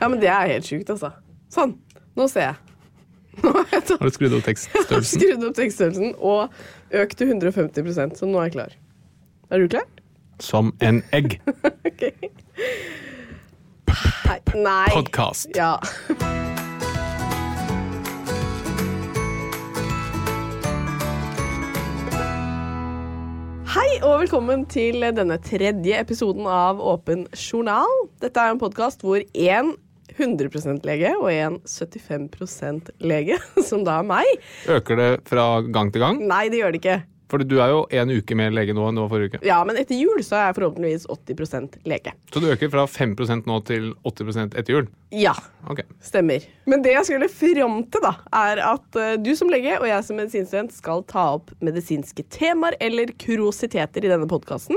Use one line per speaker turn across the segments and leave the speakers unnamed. Ja, men det er helt sjukt, altså. Sånn. Nå ser jeg. Nå har jeg tatt
Har du skrudd opp tekststørrelsen?
skrudd opp tekststørrelsen og økt til 150 så nå er jeg klar. Er du klar?
Som en egg.
Ok. Nei. Nei.
Podcast.
Ja. Hei og velkommen til denne tredje episoden av Åpen journal. Dette er en podkast hvor én 100 %-lege og en 75 %-lege, som da er meg
Øker det fra gang til gang?
Nei, det gjør det ikke.
For du er jo en uke mer lege nå enn du var forrige uke.
Ja, Men etter jul så er jeg forhåpentligvis 80 lege.
Så du øker fra 5 nå til 80 etter jul?
Ja,
Ok.
Stemmer. Men det jeg skulle fram til, da, er at eh, du som lege og jeg som medisinstudent skal ta opp medisinske temaer eller kuriositeter i denne podkasten.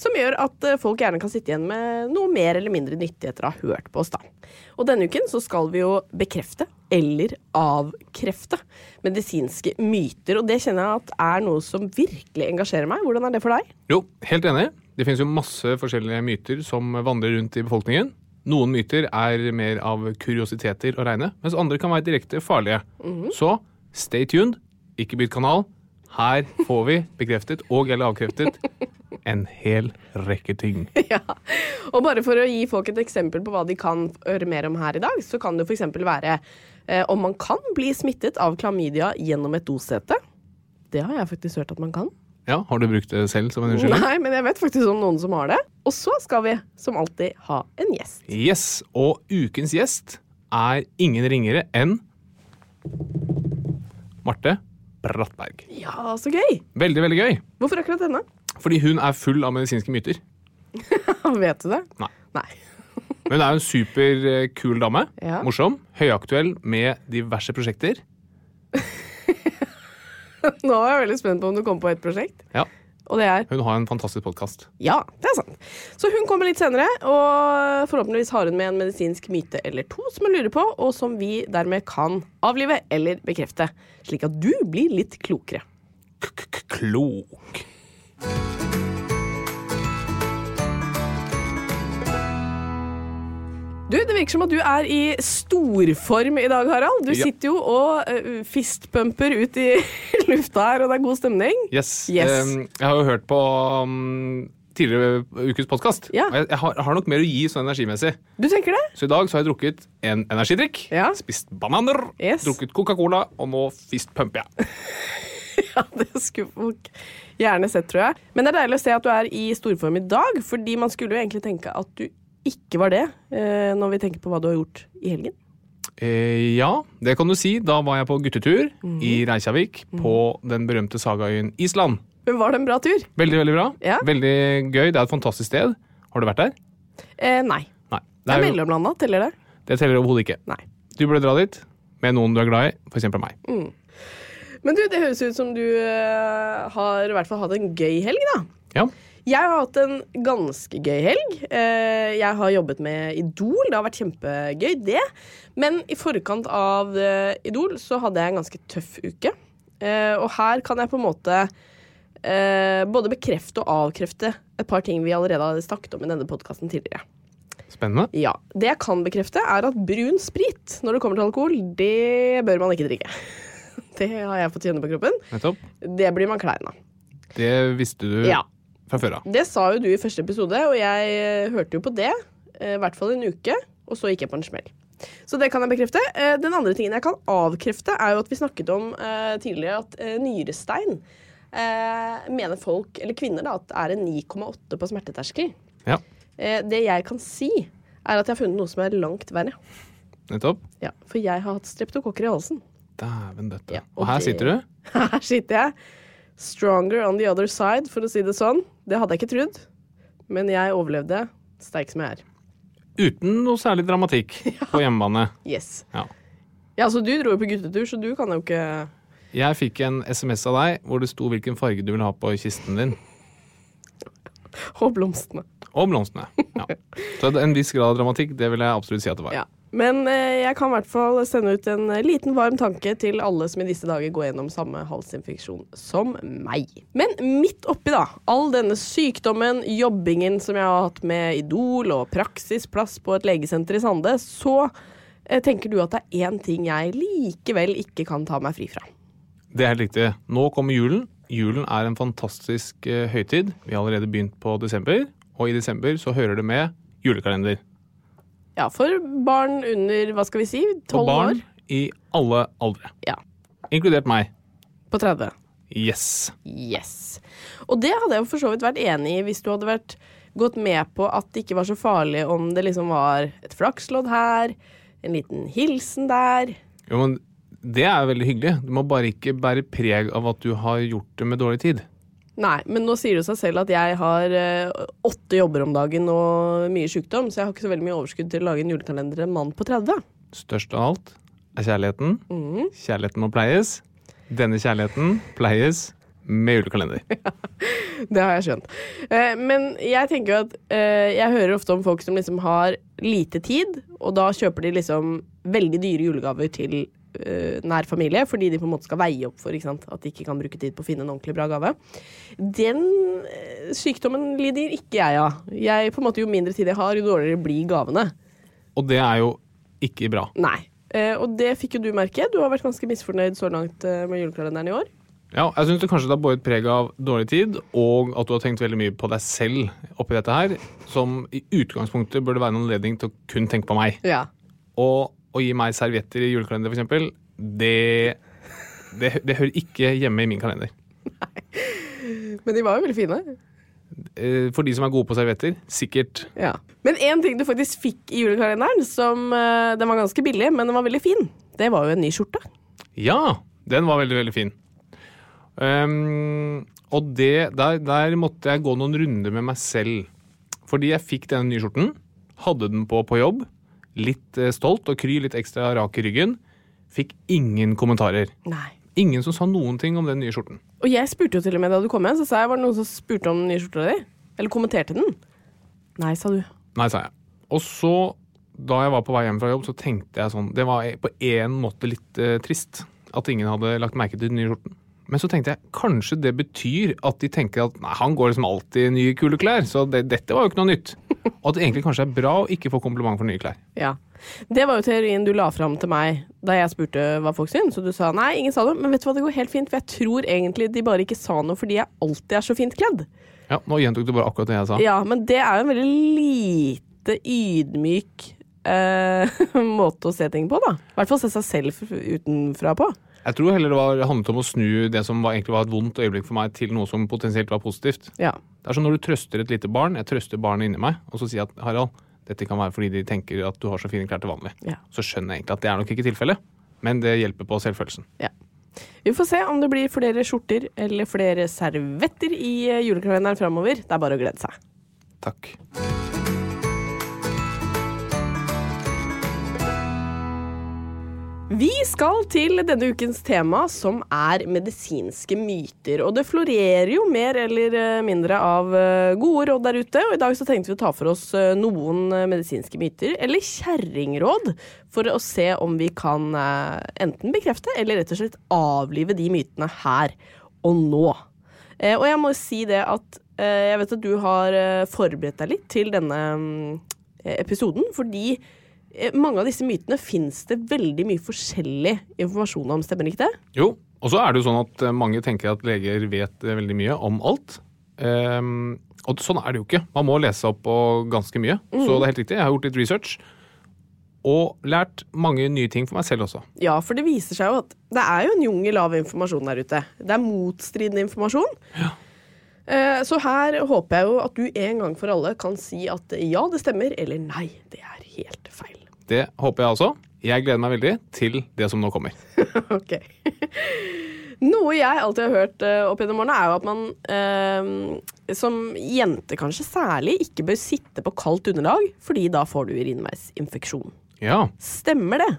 Som gjør at eh, folk gjerne kan sitte igjen med noe mer eller mindre nyttig etter å ha hørt på oss. da. Og denne uken så skal vi jo bekrefte eller avkrefte medisinske myter. Og det kjenner jeg at er noe som virkelig engasjerer meg. Hvordan er det for deg?
Jo, helt enig. Det finnes jo masse forskjellige myter som vandrer rundt i befolkningen. Noen myter er mer av kuriositeter å regne, mens andre kan være direkte farlige. Så stay tuned, ikke bytt kanal. Her får vi bekreftet og eller avkreftet en hel rekke ting.
Ja, og bare for å gi folk et eksempel på hva de kan høre mer om her i dag, så kan det f.eks. være eh, om man kan bli smittet av klamydia gjennom et dosete. Det har jeg faktisk hørt at man kan.
Ja, Har du brukt det selv som en unnskyldning?
Nei, men jeg vet faktisk om noen som har det. Og så skal vi som alltid ha en gjest.
Yes, og ukens gjest er ingen ringere enn Marte Brattberg.
Ja, så gøy!
Veldig, veldig gøy,
Hvorfor akkurat denne?
fordi hun er full av medisinske myter.
vet du det?
Nei.
Nei.
Men hun er jo en superkul dame.
Ja.
Morsom, høyaktuell med diverse prosjekter.
Nå er jeg veldig spent på om du kommer på et prosjekt.
Ja,
Og det er
Hun har en fantastisk podkast.
Ja, det er sant. Så hun kommer litt senere, og forhåpentligvis har hun med en medisinsk myte eller to som hun lurer på, og som vi dermed kan avlive eller bekrefte, slik at du blir litt klokere.
Klok.
Du, Det virker som at du er i storform i dag, Harald. Du
Ja.
sitter jo og eh, fistpumper ut i lufta her, og det er god stemning.
Yes.
Yes.
eh, Jeg har jo hørt på um, tidligere ukes podkast,
Ja.
og jeg, jeg har, har nok mer å gi sånn energimessig.
Du tenker det?
Så i dag så har jeg drukket en energidrikk,
Ja.
spist bananer,
Yes.
drukket Coca-Cola, og nå fistpumper jeg.
Ja, det skulle folk gjerne sett, tror jeg. Men det er deilig å se at du er i storform i dag, fordi man skulle jo egentlig tenke at du ikke var det, eh, når vi tenker på hva du har gjort i helgen.
Eh, ja, det
Mhm.
kan du si. Da var jeg på guttetur i Reykjavik, på den berømte sagaøyen Island.
Men var det en bra tur?
Veldig, veldig bra.
Ja.
Veldig gøy. Det er et fantastisk sted. Har du vært der?
Eh, nei.
Nei.
Det er
jo-
mellomlanda, teller det?
det teller overhodet ikke.
Nei.
Du burde dra dit med noen du er glad i, f.eks. meg.
Mm. Men du, det høres ut som du eh, har i hvert fall hatt en gøy helg, da.
Ja.
Jeg har hatt en ganske gøy helg. Eh, Jeg har jobbet med Idol. Det har vært kjempegøy, det. Men i forkant av eh, Idol så hadde jeg en ganske tøff uke. Eh, Og her kan jeg på en måte eh, både bekrefte og avkrefte et par ting vi allerede har snakket om i denne podkasten tidligere.
Spennende.
Ja, Det jeg kan bekrefte, er at brun sprit når det kommer til alkohol, det bør man ikke drikke. Det har jeg fått kjenne på kroppen.
Nettopp.
Det blir man klein av.
Det visste du
Ja.
fra før av.
Det sa jo du i første episode, og jeg eh, hørte jo på det. eh, I hvert fall en uke, og så gikk jeg på en smell. Så det kan jeg bekrefte. Eh, Den andre tingen jeg kan avkrefte, er jo at vi snakket om eh, tidligere at eh, nyrestein eh, mener folk, eller kvinner, da, at det er en 9,8 på smerteterskel.
Ja,
Eh, det jeg kan si, er at jeg har funnet noe som er langt verre.
nettopp.
Ja, For jeg har hatt streptokokker i halsen.
Dæven døtte.
Ja,
og her
ok.
sitter du.
Her sitter jeg. Stronger on the other side, for å si det sånn. Det hadde jeg ikke trodd, men jeg overlevde, sterk som jeg er.
Uten noe særlig dramatikk på hjemmebane.
Yes.
Ja.
Ja, altså Du dro jo på guttetur, så du kan jo ikke
Jeg fikk en SMS av deg hvor det sto hvilken farge du ville ha på kisten din.
ha blomstene.
Og blomstene. Ja. Så en viss grad av dramatikk, det vil jeg absolutt si at det var.
Ja. Men eh, jeg kan i hvert fall sende ut en eh, liten varm tanke til alle som i disse dager går gjennom samme halsinfeksjon som meg. Men midt oppi da, all denne sykdommen, jobbingen som jeg har hatt med Idol og praksisplass på et legesenter i Sande, så eh, tenker du at det er én ting jeg likevel ikke kan ta meg fri fra.
Det er helt riktig. Nå kommer julen. Julen er en fantastisk eh, høytid. Vi har allerede begynt på desember, og i desember så hører det med julekalender.
Ja, for barn under, hva skal vi si,
Og
tolv
barn
år?
i alle aldre.
Ja.
Inkludert meg.
På 30.
Yes.
Yes. Og det hadde jeg jo for så vidt vært enig i hvis du hadde vært gått med på at det ikke var så farlig om det liksom var et flakslodd her, en liten hilsen der.
Jo, men det er veldig hyggelig. Du må bare ikke bære preg av at du har gjort det med dårlig tid.
Nei, men nå sier det seg selv at jeg har eh, åtte jobber om dagen og mye sykdom, så jeg har ikke så veldig mye overskudd til å lage en julekalender til en mann på 30.
Størst av alt er kjærligheten. Kjærligheten må pleies. Denne kjærligheten pleies med julekalender.
Det har jeg skjønt. Eh, men jeg tenker jo at eh, jeg hører ofte om folk som liksom har lite tid, og da kjøper de liksom veldig dyre julegaver til eh, nær familie, fordi de på en måte skal veie opp for ikke sant? at de ikke kan bruke tid på å finne en ordentlig bra gave. Den eh, sykdommen lider ikke jeg av. Jeg, på en måte, jo mindre tid jeg har, jo dårligere blir gavene.
Og det er jo ikke bra.
Nei. Eh, og det fikk jo du merke. Du har vært ganske misfornøyd så langt eh, med julekalenderen i år.
Ja, jeg syns kanskje det har båret preg av dårlig tid, og at du har tenkt veldig mye på deg selv oppi dette her, som i utgangspunktet burde være en anledning til å kun tenke på meg.
Ja.
Og å gi meg servietter i julekalender, f.eks., det, det, det hører ikke hjemme i min kalender.
Men de var jo veldig fine.
Eh, For de som er gode på servietter, sikkert.
Ja. Men én ting du faktisk fikk i julekalenderen, som eh, den var ganske billig, men den var veldig fin, det var jo en ny skjorte.
Ja! Den var veldig, veldig fin. Ehm, og det, der, der måtte jeg gå noen runder med meg selv. Fordi jeg fikk denne nye skjorten, hadde den på på jobb, litt eh, stolt og kry, litt ekstra rak i ryggen. Fikk ingen kommentarer.
Nei.
Ingen som sa noen ting om den nye skjorten.
Og jeg spurte jo til og med da du kom hjem, så sa jeg var det noen som spurte om den nye skjorta di? Eller kommenterte den? Nei, sa du.
Nei, sa jeg. Og så, da jeg var på vei hjem fra jobb, så tenkte jeg sånn Det var på en måte litt eh, trist at ingen hadde lagt merke til den nye skjorten. Men så tenkte jeg kanskje det betyr at de tenker at nei, han går liksom alltid i nye, kule klær, så det, dette var jo ikke noe nytt. Og at det egentlig kanskje er bra å ikke få kompliment for nye klær.
Ja. Det var jo teorien du la fram til meg da jeg spurte hva folk syntes, og du sa nei, ingen sa noe, men vet du hva, det går helt fint, for jeg tror egentlig de bare ikke sa noe fordi jeg alltid er så fint kledd.
Ja, Nå gjentok du bare akkurat det jeg sa.
Ja, men det er jo en veldig lite ydmyk eh, måte å se ting på, da. I hvert fall se seg selv f- utenfra på.
Jeg tror heller det var, handlet om å snu det som var, egentlig var et vondt øyeblikk for meg, til noe som potensielt var positivt.
Ja.
Det er som når du trøster et lite barn. Jeg trøster barnet inni meg, og så sier jeg at Harald, dette kan være fordi de tenker at du har så fine klær til vanlig.
Ja.
Så skjønner jeg egentlig at det er nok ikke tilfellet, men det hjelper på selvfølelsen.
ja. Vi får se om det blir flere skjorter eller flere servetter i eh, julekalenderen framover. Det er bare å glede seg.
Takk.
Vi skal til denne ukens tema, som er medisinske myter. Og det florerer jo mer eller eh, mindre av eh, gode råd der ute. Og i dag så tenkte vi å ta for oss eh, noen eh, medisinske myter, eller kjerringråd, for å se om vi kan eh, enten bekrefte eller rett og slett avlive de mytene her og nå. Eh, Og jeg må si det at eh, jeg vet at du har eh, forberedt deg litt til denne mm, episoden, fordi Eh, mange av disse mytene fins det veldig mye forskjellig informasjon om, stemmer ikke det?
Jo, og så er det jo sånn at eh, mange tenker at leger vet eh, veldig mye om alt. Ehm, og sånn er det jo ikke. Man må lese seg opp på ganske mye. Så det er helt riktig. Jeg har gjort litt research. Og lært mange nye ting for meg selv også.
Ja, for det viser seg jo at det er jo en jungel av informasjon der ute. Det er motstridende informasjon. Eh, Så her håper jeg jo at du en gang for alle kan si at eh, ja, det stemmer, eller nei, det er helt feil.
Det håper jeg også. Jeg gleder meg veldig til det som nå kommer.
Ok. Noe jeg alltid har hørt eh, opp gjennom årene, er jo at man eh, som jente kanskje særlig ikke bør sitte på kaldt underlag, fordi da får du urinveisinfeksjon.
Ja.
Stemmer det?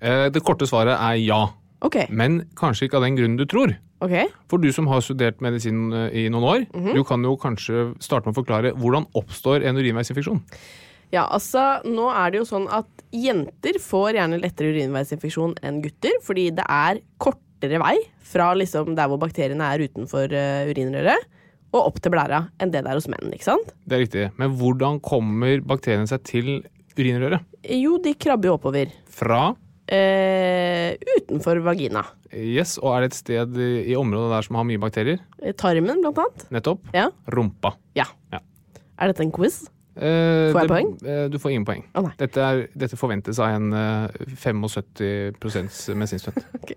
Eh, Det korte svaret er ja.
OK.
Men kanskje ikke av den grunnen du tror.
ok.
For du som har studert medisin eh, i noen år,
Mhm.
du kan jo kanskje starte med å forklare hvordan oppstår en urinveisinfeksjon.
Ja, altså, nå er det jo sånn at jenter får gjerne lettere urinveisinfeksjon enn gutter, fordi det er kortere vei fra liksom der hvor bakteriene er utenfor eh, urinrøret, og opp til blæra enn det det er hos menn, ikke sant?
Det er riktig. Men hvordan kommer bakteriene seg til urinrøret?
Jo, de krabber jo oppover.
Fra
Eh, utenfor vagina.
Yes, og er det et sted i i området der som har mye bakterier?
Eh, Tarmen, blant annet.
Nettopp.
Ja.
Rumpa.
ja.
Ja.
Er dette en quiz?
Eh,
Får jeg
det-
poeng?
eh, du får ingen poeng.
Å, nei.
dette, er, dette forventes av en eh, 75 medisinstudent.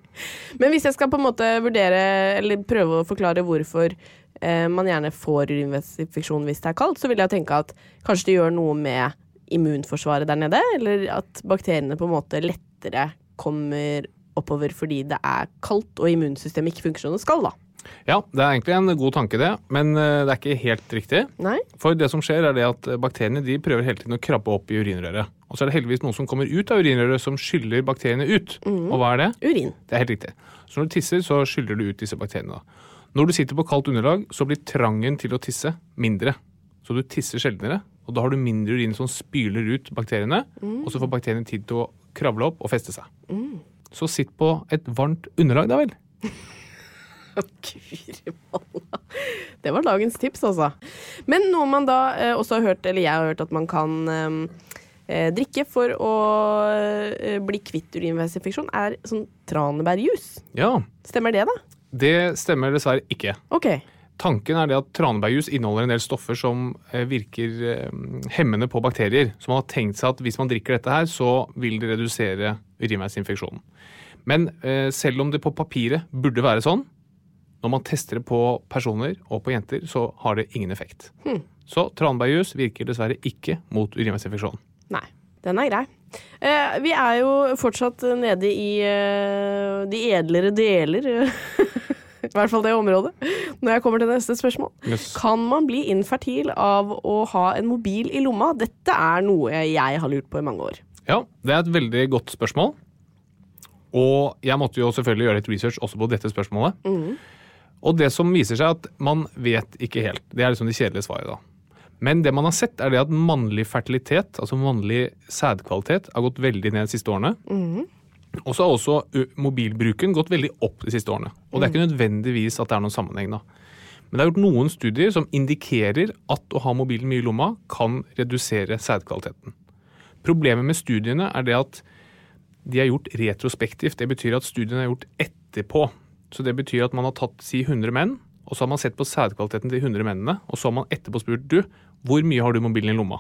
Men hvis jeg skal på en måte vurdere, eller prøve å forklare hvorfor eh, man gjerne får urinveisinfeksjon hvis det er kaldt, så vil jeg tenke at kanskje det gjør noe med immunforsvaret der nede, eller at bakteriene på en måte lettere kommer oppover fordi det er kaldt og immunsystemet ikke funker som det skal, da.
ja, det er egentlig en god tanke, det. Men eh, det er ikke helt riktig.
Nei?
For det som skjer er det at eh, bakteriene de prøver hele tiden å krabbe opp i urinrøret. Og så er det heldigvis noe som kommer ut av urinrøret som skyller bakteriene ut. Og hva er det?
Urin.
Det er helt riktig. Så når du tisser, så skyller du ut disse bakteriene. da. Når du sitter på kaldt underlag, så blir trangen til å tisse mindre. Så du tisser sjeldnere, og da har du mindre urin som spyler ut bakteriene. Og så får bakteriene tid til å kravle opp og feste seg. Så sitt på et varmt underlag, da vel.
Gurmalla. Det var dagens tips, altså. Men noe man da eh, også har hørt, eller jeg har hørt at man kan eh, drikke for å eh, bli kvitt urinveisinfeksjon, er sånn tranebærjus.
Ja,
Stemmer det, da?
det stemmer dessverre ikke.
OK.
Tanken er det at tranebærjus inneholder en del stoffer som eh, virker eh, hemmende på bakterier. Så man har tenkt seg at hvis man drikker dette her, så vil det redusere urinveisinfeksjonen. Men eh, selv om det på papiret burde være sånn, når man tester det på personer og på jenter, så har det ingen effekt. Så tranebærjus virker dessverre ikke mot urinveisinfeksjon.
Nei. Den er grei. Eh, vi er jo fortsatt nede i eh, de edlere deler. I hvert fall det området. Når jeg kommer til neste spørsmål.
Yes.
Kan man bli infertil av å ha en mobil i lomma? Dette er noe jeg har lurt på i mange år.
Ja, det er et veldig godt spørsmål. Og jeg måtte jo selvfølgelig gjøre litt research også på dette spørsmålet. Og det som viser seg at man vet ikke helt. Det er liksom det kjedelige svaret da. Men det man har sett er det at mannlig fertilitet, altså mannlig sædkvalitet, har gått veldig ned de siste årene. Og så har også ø, mobilbruken gått veldig opp de siste årene. Og det er ikke nødvendigvis at det er noen sammenheng da. Men det er gjort noen studier som indikerer at å ha mobilen mye i lomma kan redusere sædkvaliteten. Problemet med studiene er det at de er gjort retrospektivt. Det betyr at studiene er gjort etterpå. Så det betyr at man har tatt si 100 menn, og så har man sett på sædkvaliteten til de 100 mennene, og så har man etterpå spurt du, hvor mye har du mobilen i lomma?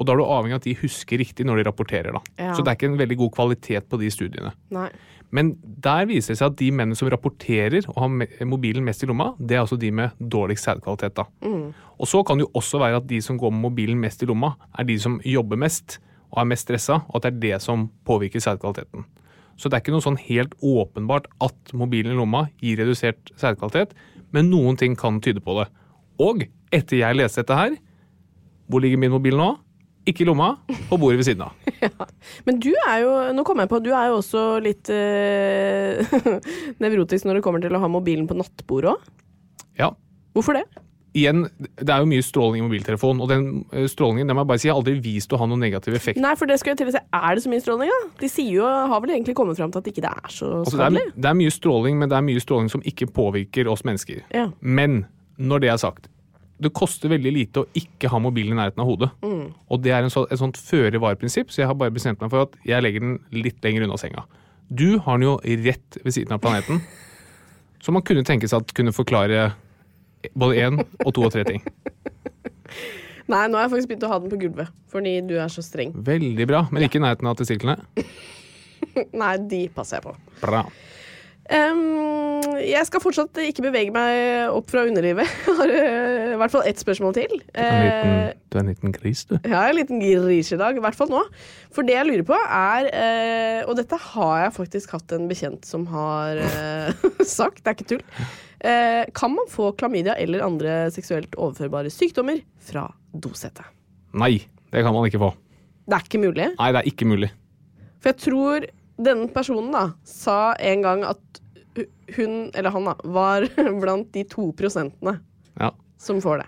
Og da er du avhengig av at de husker riktig når de rapporterer, da.
Ja.
Så det er ikke en veldig god kvalitet på de studiene.
Nei.
Men der viser det seg at de mennene som rapporterer og har me- mobilen mest i lomma, det er altså de med dårligst sædkvalitet. da. Og så kan det jo også være at de som går med mobilen mest i lomma, er de som jobber mest og er mest stressa, og at det er det som påvirker sædkvaliteten. Så det er ikke noe sånn helt åpenbart at mobilen i lomma gir redusert sædkvalitet, men noen ting kan tyde på det. Og etter jeg leste dette her, hvor ligger min mobil nå? Ikke i lomma, på bordet ved siden av.
Men du er jo nå kom jeg på, du er jo også litt eh, nevrotisk når det kommer til å ha mobilen på nattbordet òg.
Ja,
Hvorfor det?
igjen, det er jo mye stråling i mobiltelefonen, og den eh, strålingen den må jeg bare si, har aldri vist å ha noen negativ effekt.
Nei, for det skal jeg til å si. Er det så mye stråling, da? De sier jo, har vel egentlig kommet fram til at ikke det er så
Altså, det,
skadelig?
er, det er mye stråling, men det er mye stråling som ikke påvirker oss mennesker.
Ja.
Men når det er sagt, det koster veldig lite å ikke ha mobilen i nærheten av hodet.
Mm.
Og det er en så, et sånt føre-var-prinsipp, så jeg har bare bestemt meg for at jeg legger den litt lenger unna senga. Du har den jo rett ved siden av planeten, som man kunne tenke seg at kunne forklare både én og to og tre ting.
Nei, nå har jeg faktisk begynt å ha den på gulvet, fordi du er så streng.
Veldig bra, men ikke i nærheten av testiklene.
Nei, de passer jeg på.
Bra.
Ehm, jeg skal fortsatt ikke bevege meg opp fra underlivet. Jeg har eh, i hvert fall ett spørsmål til. Eh,
du er en liten gris, du.
jeg har en liten gris i dag, i hvert fall nå. For det jeg lurer på er eh, Og dette har jeg faktisk hatt en bekjent som har eh, sagt, det er ikke tull. Eh, kan man få klamydia eller andre seksuelt overførbare sykdommer fra dosettet?
Nei, det kan man ikke få.
Det er ikke mulig.
Nei, det er ikke mulig.
For jeg tror denne personen da sa en gang at hu- hun, eller han da, var blant de to prosentene
Ja.
som får det.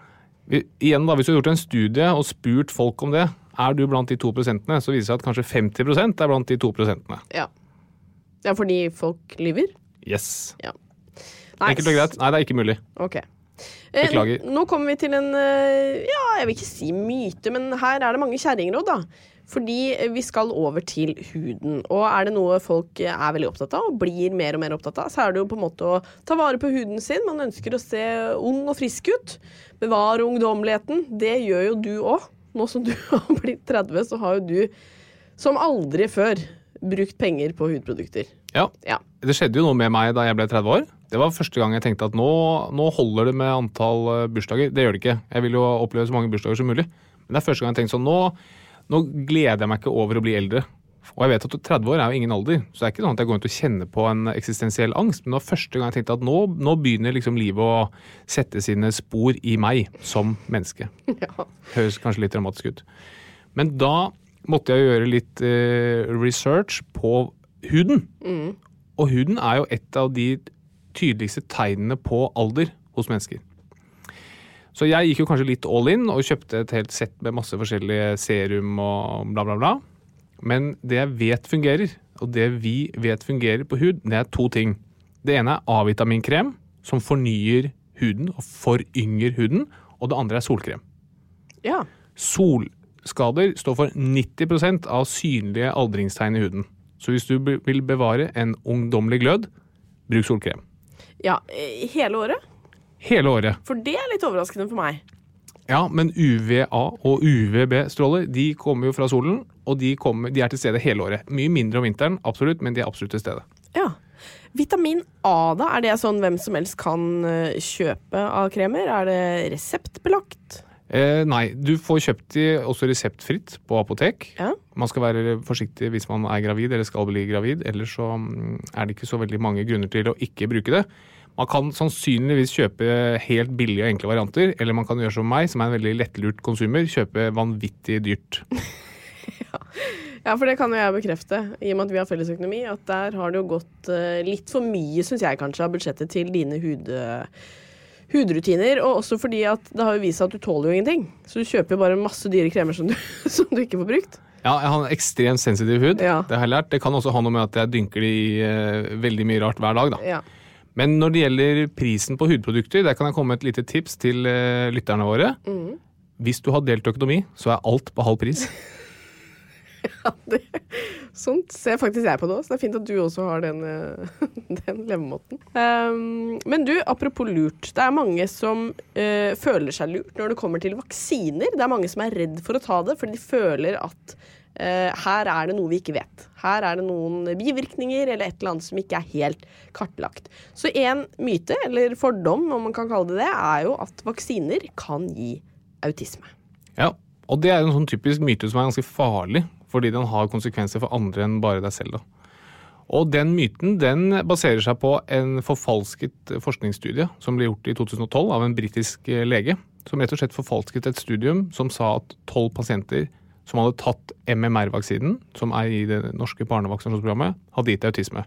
Vi- Igjen da, Hvis du har gjort en studie og spurt folk om det, er du blant de 2 prosentene, så viser det seg at kanskje 50 er blant de 2 prosentene.
Ja. ja, fordi folk lyver?
Yes.
Ja.
Enkelt og greit. Nei, det er ikke mulig.
Ok. Eh,
Beklager.
n- Nå kommer vi til en eh, ja, jeg vil ikke si myte, men her er det mange kjerringråd, da. Fordi eh, vi skal over til huden. Og er det noe folk eh, er veldig opptatt av, og blir mer og mer opptatt av, så er det jo på en måte å ta vare på huden sin. Man ønsker å se ung og frisk ut. Bevare ungdommeligheten. Det gjør jo du òg. Nå som du har blitt 30, så har jo du som aldri før brukt penger på hudprodukter.
Ja.
Ja.
Det skjedde jo noe med meg da jeg ble 30 år. Det var første gang jeg tenkte at nå, nå holder det med antall eh, bursdager. Det gjør det ikke. Jeg vil jo oppleve så mange bursdager som mulig. Men det er første gang jeg tenkte sånn nå, nå gleder jeg meg ikke over å bli eldre. Og jeg vet at 30 år er jo ingen alder, så det er ikke sånn at jeg går rundt og kjenner på en eksistensiell angst. Men det var første gang jeg tenkte at nå, nå begynner liksom livet å sette sine spor i meg som menneske.
Ja.
Høres kanskje litt dramatisk ut. Men da måtte jeg jo gjøre litt eh, research på huden. Og huden er jo et av de tydeligste tegnene på alder hos mennesker. Så jeg gikk jo kanskje litt all in og kjøpte et helt sett med masse forskjellige serum og bla, bla, bla. Men det jeg vet fungerer, og det vi vet fungerer på hud, det er to ting. Det ene er A-vitaminkrem, som fornyer huden og forynger huden. Og det andre er solkrem.
ja.
Solskader står for 90 av synlige aldringstegn i huden. Så hvis du be- vil bevare en ungdommelig glød, bruk solkrem.
Ja, eh, hele året?
Hele året.
For det er litt overraskende for meg.
Ja, men UVA og UVB-stråler de kommer jo fra solen, og de, kommer, de er til stede hele året. Mye mindre om vinteren, absolutt, men de er absolutt til stede.
Ja. Vitamin A, da? Er det sånn hvem som helst kan eh, kjøpe av kremer? Er det reseptbelagt?
Eh, nei, du får kjøpt de også reseptfritt på apotek.
Ja.
Man skal være forsiktig hvis man er gravid eller skal bli gravid, ellers så mm, er det ikke så veldig mange grunner til å ikke bruke det. Man kan sannsynligvis kjøpe helt billige og enkle varianter, eller man kan gjøre som meg, som er en veldig lettlurt konsumer, kjøpe vanvittig dyrt.
ja, for det kan jo jeg bekrefte, i og med at vi har felles økonomi, at der har det jo gått eh, litt for mye, syns jeg kanskje, av budsjettet til dine hud, eh, hudrutiner. Og også fordi at det har jo vist seg at du tåler jo ingenting. Så du kjøper jo bare masse dyre kremer som du, som du ikke får brukt.
Ja, jeg har en ekstremt sensitiv hud,
Ja.
det har jeg lært. Det kan også ha noe med at jeg dynker det i eh, veldig mye rart hver dag, da.
Ja.
Men når det gjelder prisen på hudprodukter, der kan jeg komme med et lite tips til eh, lytterne våre. Hvis du har delt økonomi, så er alt på halv pris.
Det, sånt ser faktisk jeg på nå, så det er fint at du også har den, eh, den levemåten. Ehm, men du, apropos lurt. Det er mange som eh, føler seg lurt når det kommer til vaksiner. Det er mange som er redd for å ta det, fordi de føler at eh, her er det noe vi ikke vet. Her er det noen bivirkninger eller et eller annet som ikke er helt kartlagt. Så en myte, eller fordom om man kan kalle det det, er jo at vaksiner kan gi autisme.
Ja, og det er en sånn typisk myte som er ganske farlig, fordi den har konsekvenser for andre enn bare deg selv. da. Og den myten den baserer seg på en forfalsket forskningsstudie som ble gjort i 2012 av en britisk eh, lege, som rett og slett forfalsket et studium som sa at tolv pasienter som hadde tatt MMR-vaksinen, som er i det norske barnevaksinasjonsprogrammet, hadde gitt autisme.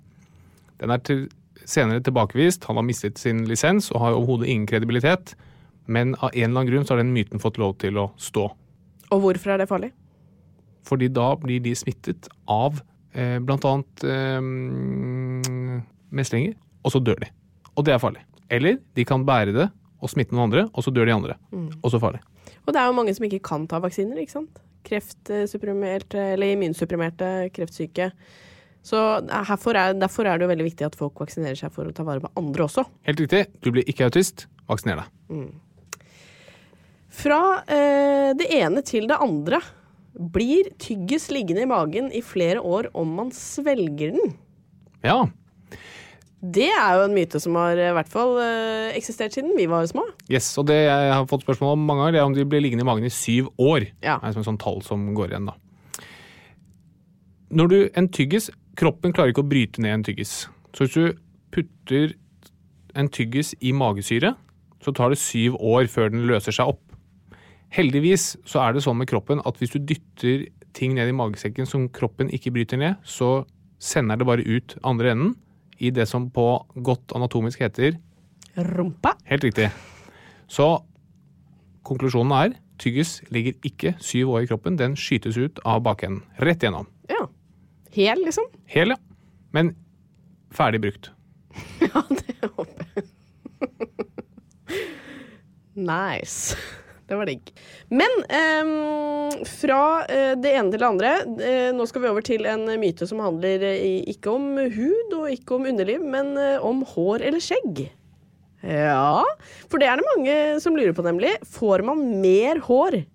Den er til, senere tilbakevist, han har mistet sin lisens og har overhodet ingen kredibilitet, men av en eller annen grunn så har den myten fått lov til å stå.
Og hvorfor er det farlig?
Fordi da blir de smittet av eh, bl.a. Eh, meslinger, og så dør de. Og det er farlig. Eller de kan bære det og smitte noen andre, og så dør de andre. Også farlig.
Og det er jo mange som ikke kan ta vaksiner, ikke sant? Kreftsupprimerte, eller immunsupprimerte, kreftsyke. Så herfor er, derfor er det jo veldig viktig at folk vaksinerer seg for å ta vare på andre også.
Helt riktig, du blir ikke autist. Vaksiner deg.
Fra eh, det ene til det andre. Blir tyggis liggende i magen i flere år om man svelger den?
Ja.
Det er jo en myte som har eh, i hvert fall eh, eksistert siden vi var små.
Yes, og det jeg har fått spørsmål om mange ganger, det er om de blir liggende i magen i syv år.
Ja.
Det er som et sånt tall som går igjen, da. Når du en tyggis Kroppen klarer ikke å bryte ned en tyggis. Så hvis du putter en tyggis i magesyre, så tar det syv år før den løser seg opp. Heldigvis så er det sånn med kroppen at hvis du dytter ting ned i magesekken som kroppen ikke bryter ned, så sender det bare ut andre enden i det som på godt anatomisk heter
Rumpa.
Helt riktig. Så konklusjonen er tyggis ligger ikke syv år i kroppen. Den skytes ut av bakenden. Rett gjennom.
Ja. Hel, liksom.
Hel, ja. Men ferdig brukt.
Ja, det håper jeg. nice. Det var digg. Men ehm, fra eh, det ene til det andre eh, Nå skal vi over til en myte som handler eh, i, ikke om hud og ikke om underliv, men eh, om hår eller skjegg. Ja, for det er det mange som lurer på, nemlig. Får man mer hår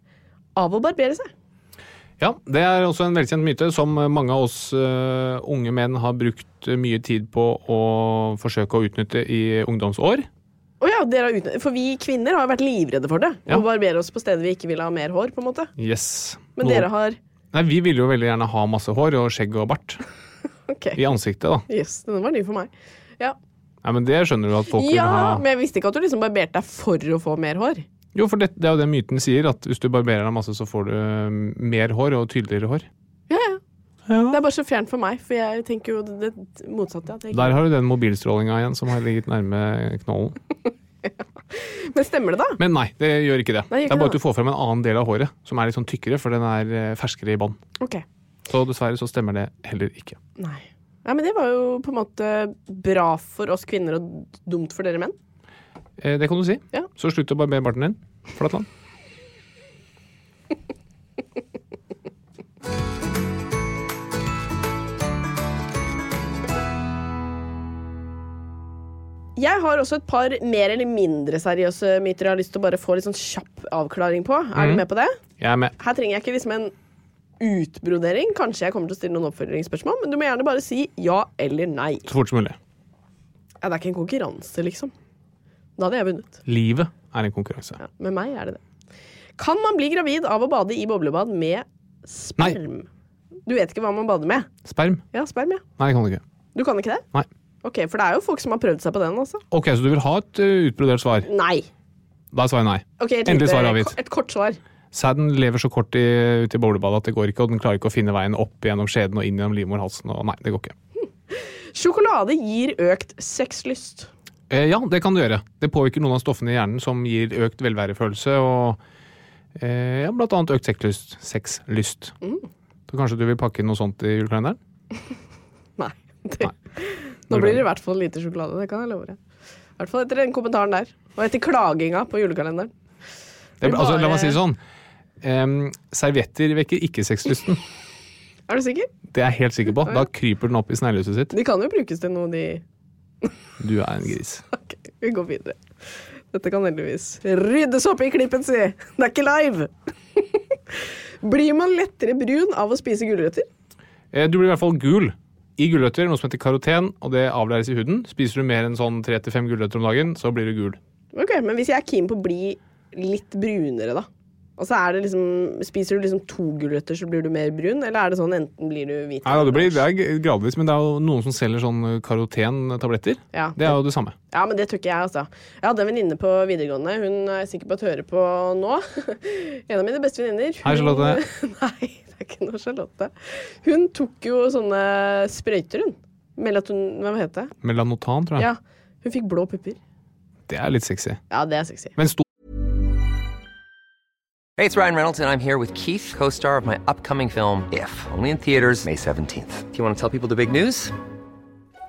av å barbere seg?
Ja, Det er også en velkjent myte som mange av oss eh, unge menn har brukt mye tid på å forsøke å utnytte i ungdomsår.
Å ja, dere har utnytt- for vi kvinner har vært livredde for det.
Ja.
Å barbere oss på steder vi ikke vil ha mer hår, på en måte.
Yes.
Men
Noen-
dere har
Nei, Vi ville jo veldig gjerne ha masse hår og skjegg og bart
Ok.
i ansiktet. da.
Jøss, den var ny for meg. Ja,
Nei, men Det skjønner du at folk vil
ja
ha.
men jeg visste ikke at du liksom barberte deg for å få mer hår.
Jo, for det, det er jo det myten sier, at hvis du barberer deg masse, så får du eh, mer hår og tydeligere hår.
Ja, ja. Det er bare så fjernt for meg, for jeg tenker jo det det motsatte. At jeg ikke...
Der har du den mobilstrålinga igjen som har ligget nærme knollen.
Men stemmer det, da?
Men nei, det gjør ikke det.
Nei,
det
gjør ikke
er bare
det.
at du får frem en annen del av håret, som er litt sånn tykkere, for den er eh, ferskere i bånd.
Ok.
Så dessverre så stemmer det heller ikke.
Nei. Nei, men det var jo på en måte bra for oss kvinner og dumt for dere menn.
Eh, det kan du si.
Ja.
Så slutt å barbere barten din. Flatland.
Jeg har også et par mer eller mindre seriøse myter jeg har lyst til å bare få litt sånn kjapp avklaring på. Er
Mhm.
du med på det?
Jeg er med.
Her trenger jeg ikke liksom en utbrodering. Kanskje jeg kommer til å stille noen oppfølgingsspørsmål, men du må gjerne bare si ja eller nei.
Så fort som mulig.
Ja, det er ikke en konkurranse, liksom. Da hadde jeg vunnet.
Livet er en konkurranse.
Ja, med meg er det det. Kan man bli gravid av å bade i boblebad med sperm? Du vet ikke hva man bader med?
Sperm?
Ja, sperm, ja.
Nei, det kan du ikke.
Du kan ikke det?
Nei.
Ok, For det er jo folk som har prøvd seg på den, altså.
Ok, så du vil ha et eh, utbrodert svar?
Nei.
Da er svaret nei.
Ok, et
Endelig
lite-
svar avgitt.
Et kort svar.
Sæden lever så kort i, ut i boblebadet at det går ikke, og den klarer ikke å finne veien opp gjennom skjeden og inn gjennom livmorhalsen. Og nei, det går ikke.
Sjokolade gir økt sexlyst.
Eh, ja, det kan du gjøre. Det påvirker noen av stoffene i hjernen som gir økt velværefølelse og eh, ja, blant annet økt sexlyst. sexlyst.
Mm.
Så kanskje du vil pakke inn noe sånt i julekalenderen?
Nei. Det.
Nei.
Nå blir det i hvert fall lite sjokolade, det kan jeg love deg. I hvert fall etter den kommentaren der. Og etter klaginga på julekalenderen.
Det,
Vi
altså, la
bare-
meg si det sånn. Em, servietter vekker ikke sexlysten.
Er du sikker?
Det er jeg helt sikker på. Da kryper den opp i sneglehuset sitt.
De kan jo brukes til noe, de
Du er en gris.
Ok, vi går videre. Dette kan heldigvis ryddes opp i klippen, si! Det er ikke live! Blir man lettere brun av å spise gulrøtter?
Eh, Du blir i hvert fall gul i gulrøtter, noe som heter karoten, og det avlæres i huden. Spiser du mer enn sånn tre til fem gulrøtter om dagen, så blir du gul.
Ok, Men hvis jeg er keen på å bli litt brunere, da? Og så er det liksom, Spiser du liksom to gulrøtter, så blir du mer brun? Eller er det sånn enten blir du hvit
Nei, da, det, blir, det er gradvis, men det er jo noen som selger sånn karoten-tabletter.
Ja.
Det er jo det samme.
Ja, men det tør ikke jeg, altså. Jeg hadde en venninne på videregående. Hun er jeg sikker på at hører på nå. En av mine beste venninner.
Hei,
Hun-
Charlotte.
Nei, det er ikke noe Charlotte. Hun tok jo sånne sprøyter, hun. Melaton... Hva heter det?
Melanotan, tror jeg.
Ja. Hun fikk blå pupper.
Det er litt sexy.
Ja, det er sexy.
Men stor
Hey, it's Ryan Reynolds, and I'm here with Keith, co star of my upcoming film, If, only in theaters, May 17th. Do you want to tell people the big news?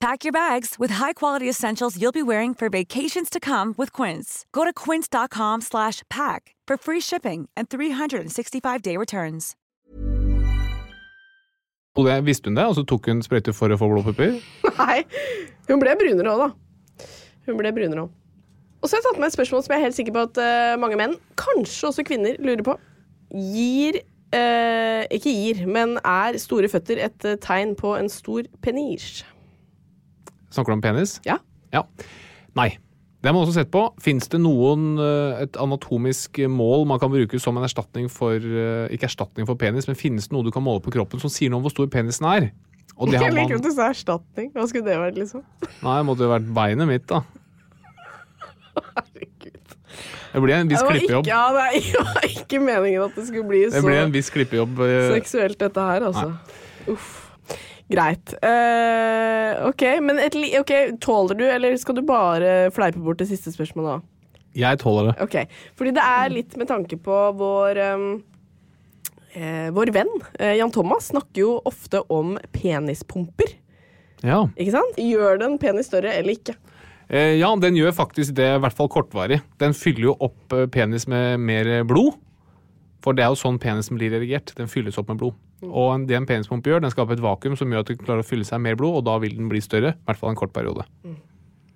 Pack your bags with high-quality essentials you'll be wearing for vacations to come with Quince. Go to quince.com/pack slash pack for free shipping and 365-day returns.
Og det, visste hun det, og så tok hun sprøyter for å få blåpupper?
Nei. Hun ble brunere òg, da. Hun ble brunere òg. Og så har jeg tatt med et spørsmål som jeg er helt sikker på at eh, mange menn, kanskje også kvinner, lurer på. Gir eh, Ikke gir, men er store føtter et eh, tegn på en stor penis?
Snakker du om penis?
Ja.
Ja. Nei. Det har man også sett på. Fins det noen, eh, et anatomisk mål man kan bruke som en erstatning for eh, Ikke erstatning for penis, men finnes det noe du kan måle på kroppen som sier noe om hvor stor penisen er? Og det har
Jeg liker
man
at du sa erstatning. Hva skulle det vært, liksom?
Nei, det måtte jo vært beinet mitt, da.
Herregud.
Det blir en
Det
viss
var ikke, altså
klippejobb.
ja, det er- det var ikke meningen at det skulle bli så
Det blir en viss klippejobb. eh,
seksuelt, dette her, altså. Uff. Greit. Eh, OK, men et li ok, tåler du, eller skal du bare fleipe bort det siste spørsmålet òg?
Jeg tåler det.
Ok, fordi det er litt med tanke på vår ehm, eh, Vår venn eh, Jan Thomas snakker jo ofte om penispumper.
Ja.
Ikke sant? Gjør det en penis større eller ikke?
Eh, ja, den gjør faktisk det, i hvert fall kortvarig. Den fyller jo opp eh, penis med mer eh, blod. For det er jo sånn penisen blir erigert. Den fylles opp med blod. Og en- det en penispumpe gjør, den skaper et vakuum som gjør at den klarer å fylle seg med mer blod, og da vil den bli større. I hvert fall en kort periode.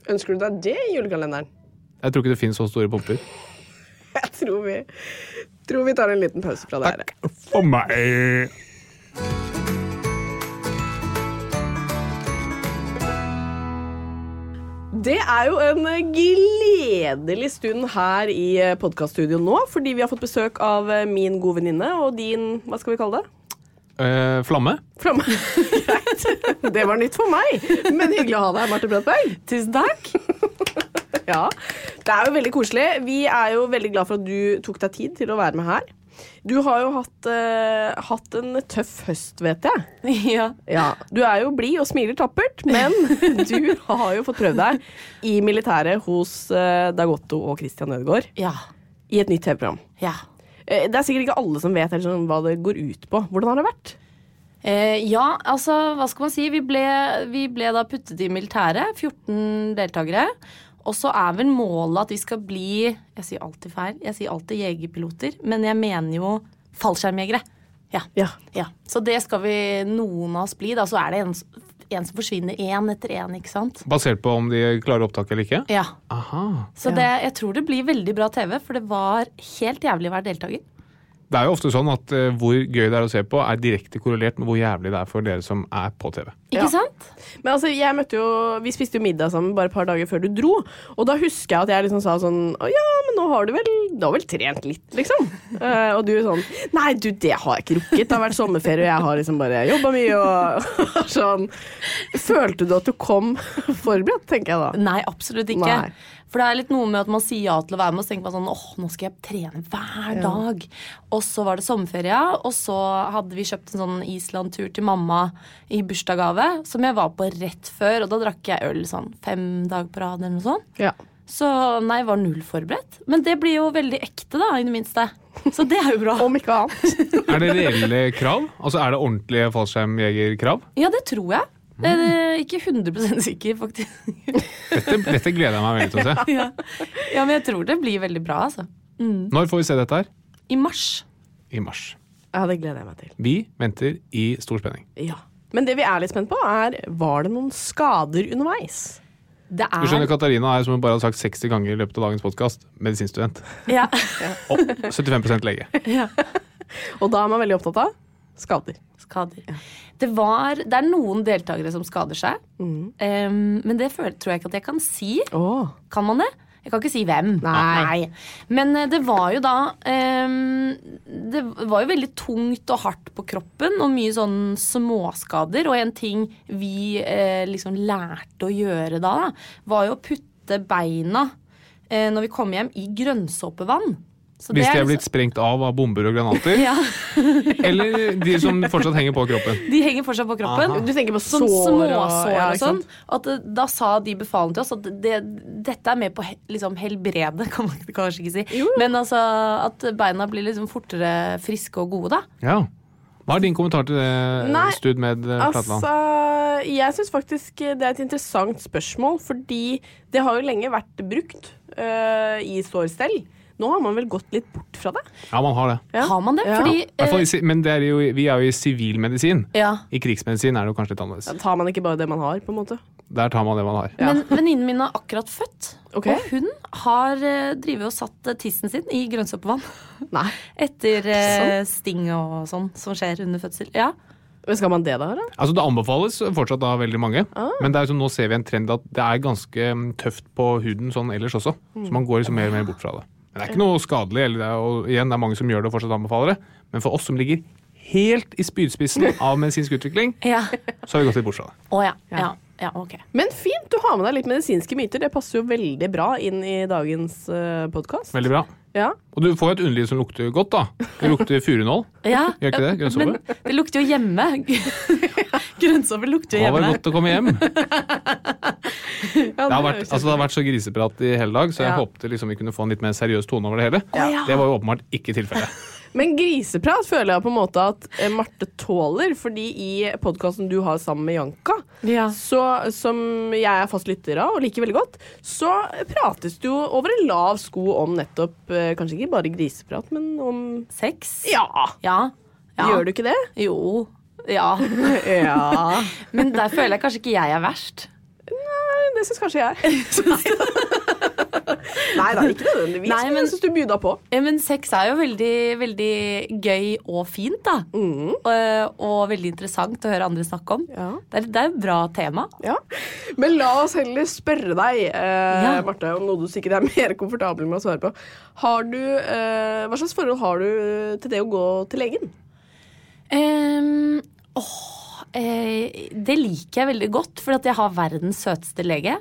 Ønsker du deg det i julekalenderen?
Jeg tror ikke det finnes så store pumper.
Jeg tror vi, tror vi tar en liten pause fra det her.
For meg!
Det er jo en gledelig stund her i podkaststudio nå, fordi vi har fått besøk av eh, min gode venninne og din Hva skal vi kalle det?
Eh, flamme?
Flamme. Greit. Det var nytt for meg, men hyggelig å ha deg her, Marte Brattberg. Tusen takk. Ja. Det er jo veldig koselig. Vi er jo veldig glad for at du tok deg tid til å være med her. Du har jo hatt, eh, hatt en tøff høst, vet jeg.
Ja.
Ja, Du er jo blid og smiler tappert, men du har jo fått prøvd deg i militæret hos eh, Dagotto og Christian Ødegaard
Ja.
i et nytt TV-program.
ja.
Eh, Det er sikkert ikke alle som vet helt sånn hva det går ut på. Hvordan har det vært?
Eh, ja, altså, hva skal man si? Vi ble, vi ble da puttet i militæret. 14 deltakere. Og så er vel målet at vi skal bli Jeg sier alltid feil. Jeg sier alltid jegerpiloter, men jeg mener jo fallskjermjegere. Ja.
Ja.
ja. Så det skal vi noen av oss bli. Da så er det en, s- en som forsvinner én etter én, ikke sant?
Basert på om de klarer opptak eller ikke?
Ja.
Aha.
Så det, jeg tror det blir veldig bra TV, for det var helt jævlig å være deltaker.
Det er jo ofte sånn at eh, hvor gøy det er å se på, er direkte korrelert med hvor jævlig det er for dere som er på TV.
Ikke
Ja.
sant?
Men altså, jeg møtte jo, Vi spiste jo middag sammen bare et par dager før du dro. Og da husker jeg at jeg liksom sa sånn Å ja, men nå nå har du vel, du har vel trent litt, liksom. Eh, og du er sånn Nei, du, det har jeg ikke rukket. Det har vært sommerferie, og jeg har liksom bare jobba mye og sånn. Følte du at du kom forberedt, tenker jeg da.
Nei, absolutt ikke.
Nei.
For det er litt noe med at man sier ja til å være med, og så tenker man sånn åh, nå skal jeg trene hver dag. Og så var det sommerferie, og så hadde vi kjøpt en sånn Island-tur til mamma i bursdagsgave, som jeg var på rett før, og da drakk jeg øl sånn fem dager på rad eller noe sånt.
Ja.
Så nei, var null forberedt. Men det blir jo veldig ekte, da, i det minste. Så det er jo bra.
Om ikke annet.
Er det reelle krav? Altså Er det ordentlige fallskjermjegerkrav?
Ja, det tror jeg. Eh, Ikke 100 sikker, faktisk.
Dette, dette gleder jeg meg veldig til å se.
ja. ja, men jeg tror det blir veldig bra, altså.
Når får vi se dette her?
I mars.
I mars.
Ja, det gleder jeg meg til.
Vi venter i stor spenning.
Ja. Men det vi er litt spent på, er var det noen skader underveis?
Det
Du skjønner,
er
Katarina er som hun bare har sagt 60 ganger i løpet av dagens podkast, medisinstudent.
ja.
Og 75 lege.
Og da er man veldig opptatt av skader.
skader. Det, var, det er noen deltakere som skader seg, Em, men det føler, tror jeg ikke at jeg kan si.
Åh.
Kan man det? Jeg kan ikke si hvem.
Nei.
Men eh, det var jo da em, Det var jo veldig tungt og hardt på kroppen og mye sånn småskader. Og en ting vi eh, liksom lærte å gjøre da, da, var jo å putte beina eh, når vi kom hjem, i grønnsåpevann. Så det
Hvis de
er
er blitt
liksom-
sprengt av av bomber og granater,
ja,
eller de som fortsatt henger på kroppen.
De henger fortsatt på kroppen.
Du tenker på sår
Sånn småsår
ja,
og
ikke
sånn.
sant?
At eh, da sa de befalende til oss at det, dette er med på å he- liksom helbrede, kan man kanskje ikke si. Men altså at beina blir liksom fortere friske og gode, da.
Ja. Hva er din kommentar til det,
Nei,
Stud med eh, Flatland?
Altså, jeg syns faktisk det er et interessant spørsmål, fordi det har jo lenge vært brukt øh, i sårstell. Nå har man vel gått litt bort fra det?
Ja, man har det.
Ja.
Har man det?
Ja.
Fordi
I hvert fall
eh,
i si- Men det er jo, vi er jo i sivilmedisin.
ja.
I krigsmedisin er det jo kanskje litt annerledes.
Tar man ikke bare det man har, på en måte?
Der tar man det man har.
Men venninnen min er akkurat født,
Ok.
og hun har eh, drivet og satt eh, tissen sin i grønnsåpevann.
Nei.
Etter eh, sting og sånn som skjer under fødsel. Ja.
Men skal man det da, da?
Altså Det anbefales fortsatt av veldig mange,
Ah.
men det er jo sånn, nå ser vi en trend at det er ganske mm, tøft på huden sånn ellers også. Så man går liksom mer og mer bort fra det. Men det er ikke noe skadelig. Eller det er, og igjen, det er mange som gjør det og fortsatt anbefaler det. Men for oss som ligger helt i spydspissen av medisinsk utvikling,
Ja.
så har vi gått litt bort fra det.
Å ja. ja. Ja, ok.
Men fint, du har med deg litt medisinske myter. Det passer jo veldig bra inn i dagens uh, podkast.
Veldig bra.
Ja.
Og du får jo et underliv som lukter godt, da. Det lukter furunål.
Ja.
Gjør ikke det? Grønnsåpe?
Men det lukter jo hjemme. Grønnsåpe lukter
Det
jo
var
hjemme.
det godt å komme hjem. Det
Ja,
har
det
vært,
høres
altså, det har vært så griseprat i hele dag, så jeg håpte liksom vi kunne få en litt mer seriøs tone over det hele. Det var jo åpenbart ikke tilfellet.
Men griseprat føler jeg på en måte at eh, Marte tåler, fordi i podkasten du har sammen med Janka,
Ja.
så, som jeg er fast lytter av og liker veldig godt, så prates det jo over en lav sko om nettopp eh, Kanskje ikke bare griseprat, men om
Sex?
Ja!
Ja. ja.
Gjør du ikke det?
Jo. Ja.
Ja.
Men der føler jeg kanskje ikke jeg er verst.
Det syns kanskje jeg. Nei da, ikke nødvendigvis,
Nei,
men
men-
jeg syns du bjuda på.
Ja, Men sex er jo veldig, veldig gøy og fint, da. Mm. Og, og veldig interessant å høre andre snakke om.
Ja.
Det er- det er et bra tema.
Ja. Men la oss heller spørre deg, eh,
Ja.
Marte, om noe du sikkert er mer komfortabel med å svare på. Har du, eh, hva slags forhold har du til det å gå til legen?
Ehm, åh, eh, det liker jeg veldig godt, for at jeg har verdens søteste lege.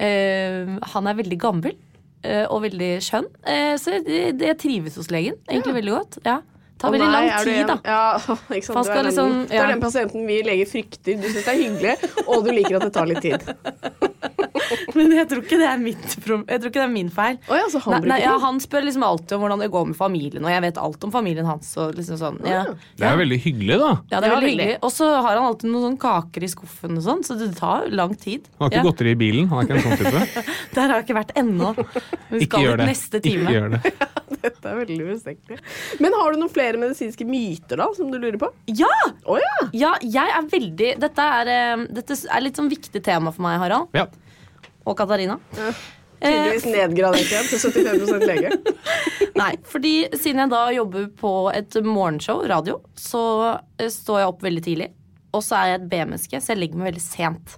Ehm, han er veldig gammel eh, og veldig skjønn, eh, så det, det jeg trives hos legen egentlig veldig godt. Ja. Tar
Å
veldig
nei,
lang
er du
tid,
en-
da.
Ja, ikke sant?
Man
Du
skal
er, den,
liksom-
du er
ja.
den pasienten vi leger frykter. Du syns det er hyggelig, og du liker at det tar litt tid.
Men jeg tror ikke det er, mitt problem. Jeg tror ikke det er min feil.
Å ja, så han
nei,
bruker
nei, ja,
tid.
han spør liksom alltid om hvordan det går med familien, og jeg vet alt om familien hans. Og liksom sånn. ja.
Det er jo veldig hyggelig, da.
Ja, det er
Ja,
veldig
veldig.
hyggelig. Og så har han alltid noen sånne kaker i skuffen, og sånn, så det tar jo lang tid.
Han har ikke
Ja.
godteri i bilen. Han er ikke en sånn type.
Der har jeg ikke vært ennå. Vi
Ikke
skal
gjør
dit
det.
neste
Ikke
time.
gjør det.
Dette er veldig mistenkelig. Men har du noen flere medisinske myter da, som du lurer på?
Ja!
Å ja!
ja! Jeg er veldig Dette er, eh, dette er litt sånn viktig tema for meg, Harald.
Ja.
Og Katarina. Eh,
Tydeligvis nedgradert igjen til 75 lege.
Nei, fordi siden jeg da jobber på et morgenshow, radio, så eh, står jeg opp veldig tidlig. Og så er jeg et B-menneske, så jeg legger meg veldig sent.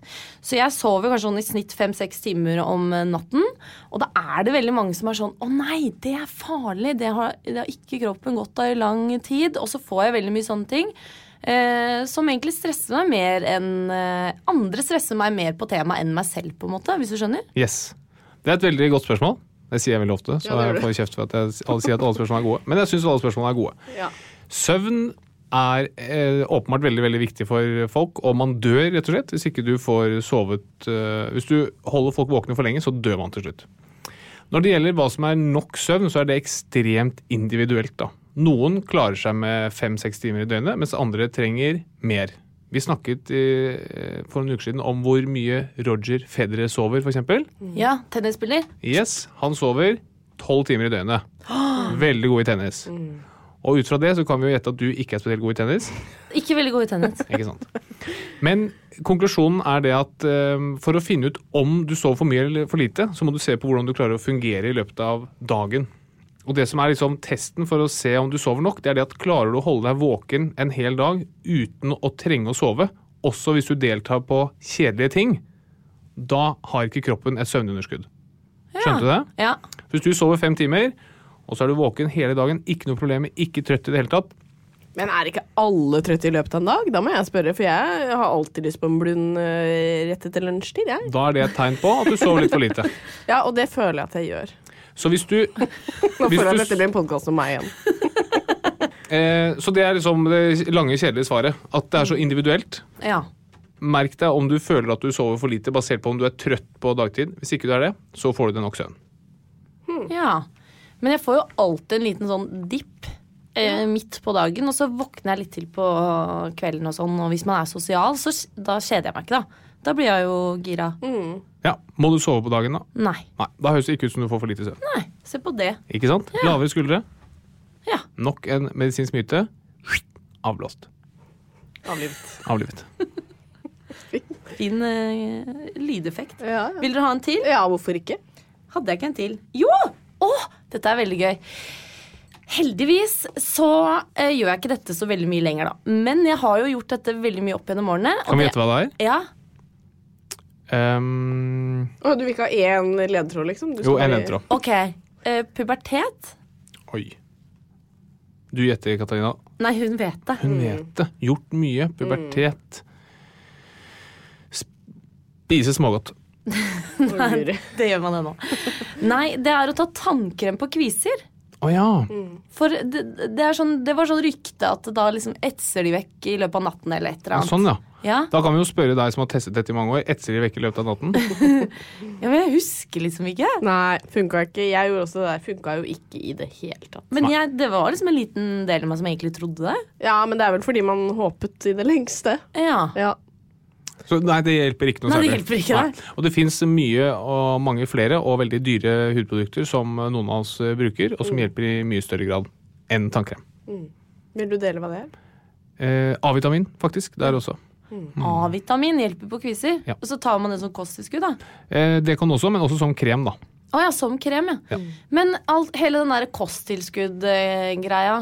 Så jeg sover kanskje sånn i snitt fem-seks timer om eh, natten. Og da er det veldig mange som er sånn Å nei, det er farlig. Det har, det har ikke kroppen godt av i lang tid. Og så får jeg veldig mye sånne ting. eh, som egentlig stresser meg mer enn eh, Andre stresser meg mer på temaet enn meg selv, på en måte, hvis du skjønner?
Yes. Det er et veldig godt spørsmål. Det sier jeg veldig ofte, så
Ja, det gjør
jeg får kjeft for at jeg s- alle sier at alle spørsmål er gode. Men jeg syns alle spørsmål er gode.
Ja.
Søvn er eh, åpenbart veldig veldig viktig for folk, og man dør rett og slett hvis ikke du får sovet eh, Hvis du holder folk våkne for lenge, så dør man til slutt. Når det gjelder hva som er nok søvn, så er det ekstremt individuelt. da. Noen klarer seg med fem-seks timer i døgnet, mens andre trenger mer. Vi snakket eh, for noen uker siden om hvor mye Roger Federer sover, f.eks.
Ja, tennisspiller.
Yes, han sover tolv timer i døgnet. Veldig god i tennis. Og ut fra det så kan vi jo gjette at du ikke er spesielt god i tennis.
Ikke veldig god i tennis.
Ikke sant? Men konklusjonen er det at eh, for å finne ut om du sover for mye eller for lite, så må du se på hvordan du klarer å fungere i løpet av dagen. Og det som er liksom testen for å se om du sover nok, det er det at klarer du å holde deg våken en hel dag uten å trenge å sove, også hvis du deltar på kjedelige ting, da har ikke kroppen et søvnunderskudd. Skjønte du det?
Ja.
Hvis du sover fem timer, og så er du våken hele dagen, ikke noe problem, ikke trøtt i det hele tatt.
Men er ikke alle trøtte i løpet av en dag? Da må jeg spørre, for jeg har alltid lyst på en blund eh, rett etter lunsjtid. Jeg.
Da er det et tegn på at du sover litt for lite.
Ja, og det føler jeg at jeg gjør.
Så hvis du,
Nå
Hvis du
føler jeg at dette blir en podkast om meg igjen.
eh, så det er liksom det lange, kjedelige svaret. At det er så individuelt.
ja.
Merk deg om du føler at du sover for lite basert på om du er trøtt på dagtid. Hvis ikke du er det, så får du deg nok søvn.
Ja. Men jeg får jo alltid en liten sånn dipp eh, midt på dagen, og så våkner jeg litt til på kvelden og sånn. Og hvis man er sosial, så s- da kjeder jeg meg ikke, da. Da blir jeg jo gira.
Ja, Må du sove på dagen, da?
Nei.
Nei, Da høres det ikke ut som du får for lite søvn.
Nei, se på det.
Ikke sant? Lavere skuldre.
Ja.
Nok en medisinsk myte. Avblåst.
Avlivet.
Avlivet.
Fin eh, lydeffekt.
Ja, ja.
Vil dere ha en til?
ja, hvorfor ikke?
Hadde jeg ikke en til? Jo! Å, dette er veldig gøy. Heldigvis så eh, gjør jeg ikke dette så veldig mye lenger, da. Men jeg har jo gjort dette veldig mye opp gjennom årene. og
Kan vi
det-
gjette hva det er?
Ja.
Ehm,
Å, du vil ikke ha én ledetråd, liksom? Du
jo,
skal
en
bare-
venter, da.
Ok. Eh, pubertet?
Oi. Du gjetter, Katarina.
Nei, hun vet det.
Hun vet det. Gjort mye.
Mm.
Pubertet. Spise smågodt.
Nei.
Det gjør man ennå. Nei, det er å ta tannkrem på kviser.
Å ja.
For det, det, er sånn, det var sånn rykte at da liksom etser de vekk i løpet av natten eller et eller annet.
Sånn, ja.
Ja,
Da kan vi jo spørre deg som har testet dette i mange år. Etser de vekk i løpet av natten?
ja men jeg husker liksom ikke.
Nei, funka ikke. Jeg gjorde også det der. Funka jo ikke i det hele tatt.
Men jeg, det var liksom en liten del av meg som egentlig trodde det.
Ja, men det er vel fordi man håpet i det lengste.
Ja.
Ja.
Så nei, det hjelper ikke noe
Nei, det
særlig.
hjelper ikke, nei.
Og det fins mye og mange flere og veldig dyre hudprodukter som noen av oss eh, bruker, og som
Mm.
hjelper i mye større grad enn tannkrem.
Vil du dele hva det er?
Eh, A-vitamin, faktisk, der også.
A-vitamin hjelper på kviser.
Mm. Ja.
Og så tar man det som kosttilskudd, da.
Eh, det kan også, men også som krem, da.
Å ja, som krem, ja. Men alt, hele den der kosttilskudd-greia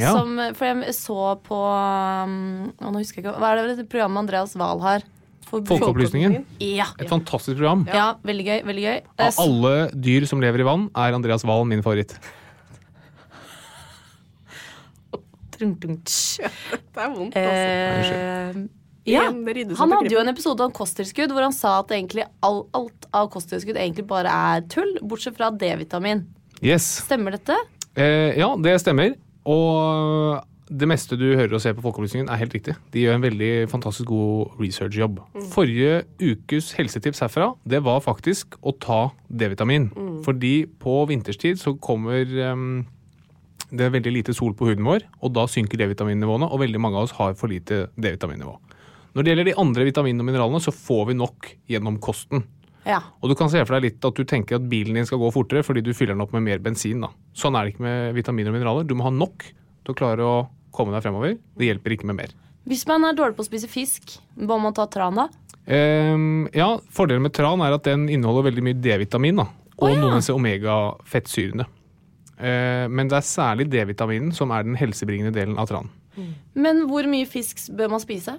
Ja.
som For jeg så på um, å, Nå husker jeg ikke Hva er det det programmet Andreas Wahl har? For-
Folkeopplysningen.
Ja.
Et fantastisk program.
ja. veldig gøy. Veldig gøy. Eh,
Av alle dyr som lever i vann, er Andreas Valen min favoritt.
Trung, trung, tsj.
Det er vondt, altså.
Eh, ja.
Igjen, det ryddes
Han
opp i
hadde jo en episode om kosttilskudd hvor han sa at egentlig all, alt av kosttilskudd egentlig bare er tull, bortsett fra D-vitamin.
Yes.
Stemmer dette?
Eh, ja, det stemmer. Og det meste du hører og ser på Folkeopplysningen, er helt riktig. De gjør en veldig fantastisk god researchjobb. Forrige ukes helsetips herfra, det var faktisk å ta D-vitamin. Fordi på vinterstid så kommer ehm, det er veldig lite sol på huden vår, og da synker D-vitaminnivåene, og veldig mange av oss har for lite D-vitaminnivå. Når det gjelder de andre vitaminene og mineralene, så får vi nok gjennom kosten.
Ja.
Og du kan se for deg litt at du tenker at bilen din skal gå fortere fordi du fyller den opp med mer bensin. da. Sånn er det ikke med vitaminer og mineraler. Du må ha nok til å klare å komme deg fremover. Det hjelper ikke med mer.
Hvis man er dårlig på å spise fisk, må man ta tran da?
Ehm, ja, Fordelen med tran er at den inneholder veldig mye D-vitamin. da, Og
Å, ja.
noen av disse omega-fettsyrene. Eh, men det er særlig D-vitaminen som er den helsebringende delen av tran.
Men hvor mye fisk bør man spise?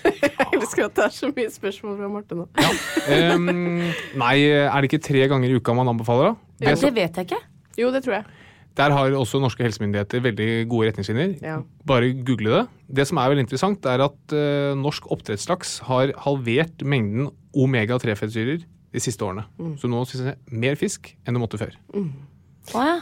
Jeg elsker at det er så mye spørsmål fra Marte nå.
Ehm, nei, er det ikke tre ganger i uka man anbefaler, da? Det,
Det,
som-
vet jeg ikke.
Jo, det tror jeg.
der har også norske helsemyndigheter veldig gode retningslinjer.
Ja.
Bare google det. Det som er veldig interessant, er at eh, norsk oppdrettslaks har halvert mengden omega-3-fettsyrer de siste årene. Så nå spiser jeg mer fisk enn du måtte før.
Å ja.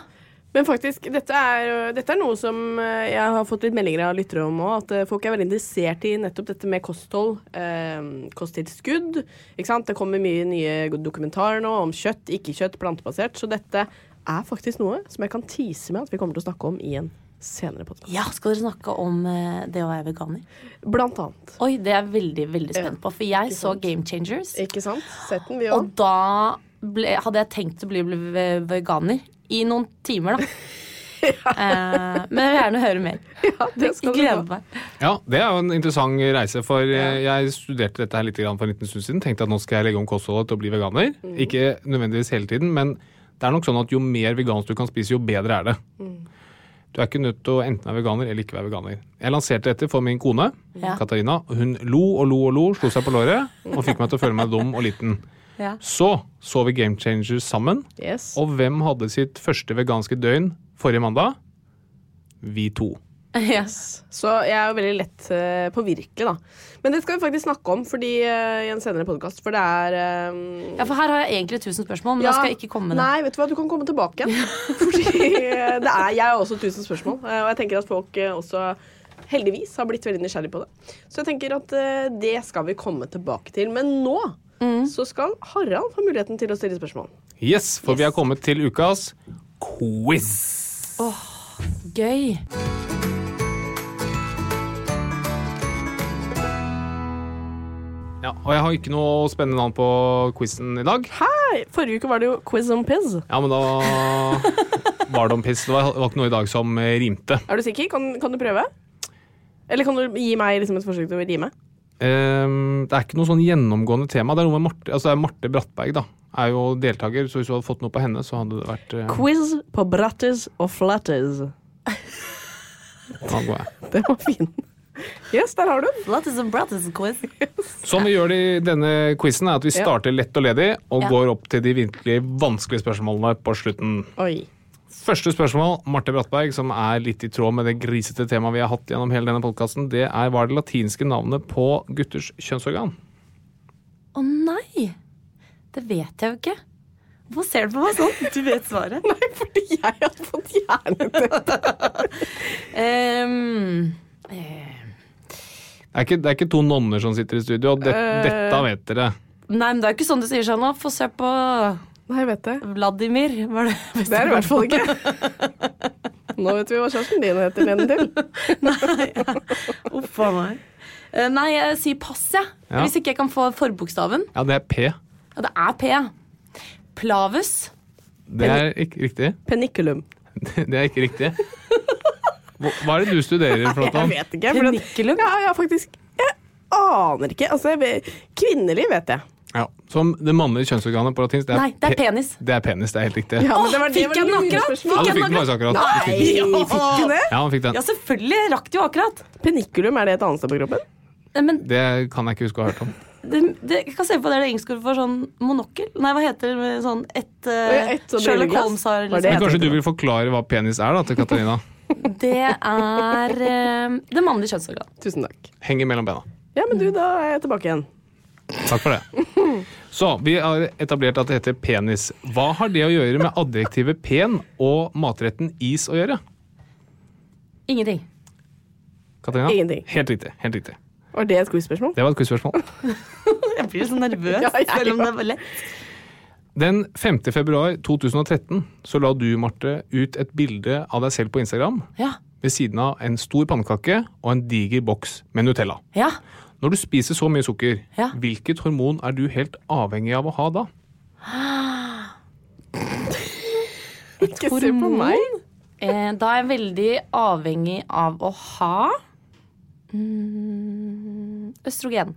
Men faktisk, dette er, dette er noe som eh, jeg har fått litt meldinger av lyttere om òg. At eh, folk er veldig interessert i nettopp dette med kosthold. Eh, kosttilskudd. Ikke sant? Det kommer mye nye dokumentarer nå om kjøtt, ikke-kjøtt, plantebasert. Så dette er faktisk noe som jeg kan tease med at vi kommer til å snakke om i en senere podkast.
ja, skal dere snakke om eh, det å være veganer?
Blant annet.
Oi, det er jeg veldig, veldig spent på. For jeg så Game Changers,
Ikke sant? Sett den, vi
og
òg.
da ble, hadde jeg tenkt å bli, bli ve- veganer. I noen timer, da. Eh, men jeg vil gjerne høre mer.
det skal du
Gleder
få.
meg.
Ja, det er jo en interessant reise, for eh, jeg studerte dette her litt grann for en liten stund siden. Tenkte at nå skal jeg legge om kostholdet til å bli veganer.
Mm.
Ikke nødvendigvis hele tiden, men det er nok sånn at jo mer vegansk du kan spise, jo bedre er det.
Mm.
Du er ikke nødt til å enten være veganer eller ikke være veganer. Jeg lanserte dette for min kone,
Ja.
Katarina. og Hun lo og lo og lo, slo seg på låret og fikk meg til å føle meg dum og liten.
Ja.
Så så vi Game Changers sammen,
Yes.
og hvem hadde sitt første veganske døgn forrige mandag? Vi to.
Yes.
Så jeg er jo veldig lett eh, påvirkelig, da. Men det skal vi faktisk snakke om fordi, eh, i en senere podkast, for det er eh,
Ja, for her har jeg egentlig tusen spørsmål, men
Ja.
jeg skal jeg ikke komme med det.
Nei, vet du hva, du kan komme tilbake igjen. Fordi eh, det er, jeg har også tusen spørsmål, eh, og jeg tenker at folk eh, også heldigvis har blitt veldig nysgjerrig på det. Så jeg tenker at eh, det skal vi komme tilbake til. Men nå
Mm.
så skal Harald få muligheten til å stille spørsmål.
Yes, for vi har kommet til ukas quiz.
Gøy.
Ja, og jeg har ikke noe spennende navn på quizen i dag.
Hei! Forrige uke var det jo quiz on piz.
Ja, men da var det om piss. Det var, det var ikke noe i dag som eh, rimte.
Er du sikker? Kan, kan du prøve? Eller kan du gi meg liksom et forsøk til å rime?
Ehm, det er ikke noe sånn gjennomgående tema. Det er noe med Marte, altså det er Marte Brattberg, da. Er jo deltaker, så hvis du hadde fått noe på henne, så hadde det vært eh,
Quiz på brattis og flattis.
da går jeg.
Den var fin. Yes, der har du den.
Lattes and Brothers quiz.
Sånn vi gjør det i denne quizen, er at vi
Ja.
starter lett og ledig, og
Ja.
går opp til de virkelig vanskelige spørsmålene på slutten.
Oi.
Første spørsmål, Marte Brattberg, som er litt i tråd med det grisete temaet vi har hatt gjennom hele denne podkasten, det er hva er det latinske navnet på gutters kjønnsorgan?
Å nei! Det vet jeg jo ikke. Hvorfor ser du på meg sånn? Du vet svaret.
Nei, fordi jeg har fått hjernetett.
Ehm, eh,
Det er ikke, det er ikke to nonner som sitter i studio, og det, dette vet dere.
nei, men det er jo ikke sånn det sier seg nå. Få se på
Nei, jeg vet det.
Vladimir. Var det
Det er det i hvert fall ikke. Nå vet vi hva kjæresten din heter, Lenn til.
Uff a meg. Eh, Nei, jeg sier pass, jeg.
Ja.
Hvis ikke jeg kan få forbokstaven.
Ja, det er P.
Ja, det er P. Plavus.
Det er ikke riktig.
Peniculum.
Det er ikke riktig. Hva hva er det du studerer,
Jeg
Flåtland?
vet ikke. for at-
Peniculum?
Ja, jeg har faktisk Jeg aner ikke. Altså, jeg vet, kvinnelig vet jeg.
Ja, som det mannlige kjønnsorganet på latinsk, det er,
Nei, det er
pe-
penis.
Det er penis, det er helt riktig.
Ja,
Ja,
men det var, det
fikk
var
jeg den
lurespørsmål.
akkurat?
du
Fikk jeg
fikk den
den
faktisk akkurat. Du fikk den.
Nei,
eh?
fikk du det?
Ja, han fikk den.
Ja, selvfølgelig. Jeg rakk det jo akkurat.
Peniculum, er det et annet sted på kroppen?
Eh, Men
Det kan jeg ikke huske å ha hørt om.
det, det, jeg kan se på det er det engelske ordet for sånn monokkel. Nei, hva heter det? Sånn et, eh,
Et sånn
Sherlock
brilleglass.
Holmes har
Var
liksom.
det
Men kanskje du vil forklare hva penis er da, til Katarina?
Det er eh, det mannlige kjønnsorgan.
Tusen takk.
Henger mellom bena.
Ja, men du, da er jeg tilbake igjen.
Takk for det. Så, Vi har etablert at det heter penis. Hva har det å gjøre med adjektivet pen og matretten is å gjøre?
Ingenting.
Katarina?
Ingenting.
Helt riktig. helt riktig.
Var det et quiz-spørsmål?
Det var et quizspørsmål.
Jeg blir så nervøs.
Ja, jeg
selv om det er lett.
Den 5. februar 2013 så la du, Marte, ut et bilde av deg selv på Instagram
Ja.
ved siden av en stor pannekake og en diger boks med Nutella.
ja.
Når du spiser så mye sukker,
Ja.
hvilket hormon er du helt avhengig av å ha da?
Ikke se på meg.
Eh, da er jeg veldig avhengig av å ha mm, østrogen.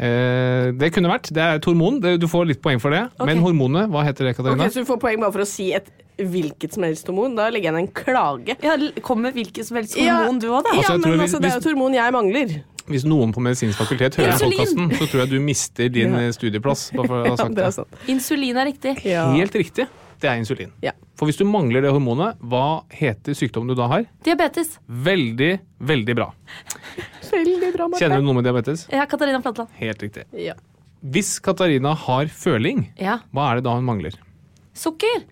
Eh, det kunne vært. Det er et hormon. Det, du får litt poeng for det. Men hormonet, hva heter det,
Ok,
Katarina?
Så du får poeng bare for å si et hvilket som helst hormon. Da legger jeg ned en klage.
Ja, l- kom med hvilket som helst
Ja.
hormon du òg, da.
Altså,
Ja,
jeg tror
men
vi-
altså, det er jo
hvis-
et hormon jeg mangler.
Hvis noen på medisinsk fakultet hører
Insulin!
podkasten, så tror jeg du mister din eh, studieplass. Bare for å ha
Ja,
sagt
det er
det.
sant.
Insulin er riktig.
Helt riktig. Det er insulin.
Ja.
For hvis du mangler det hormonet, hva heter sykdommen du da har?
Diabetes.
Veldig, veldig bra.
Veldig bra, Marte.
Kjenner du noe med diabetes?
Ja, Katarina Flatland.
Helt riktig.
Ja.
Hvis Katarina har føling,
Ja.
hva er det da hun mangler?
Sukker.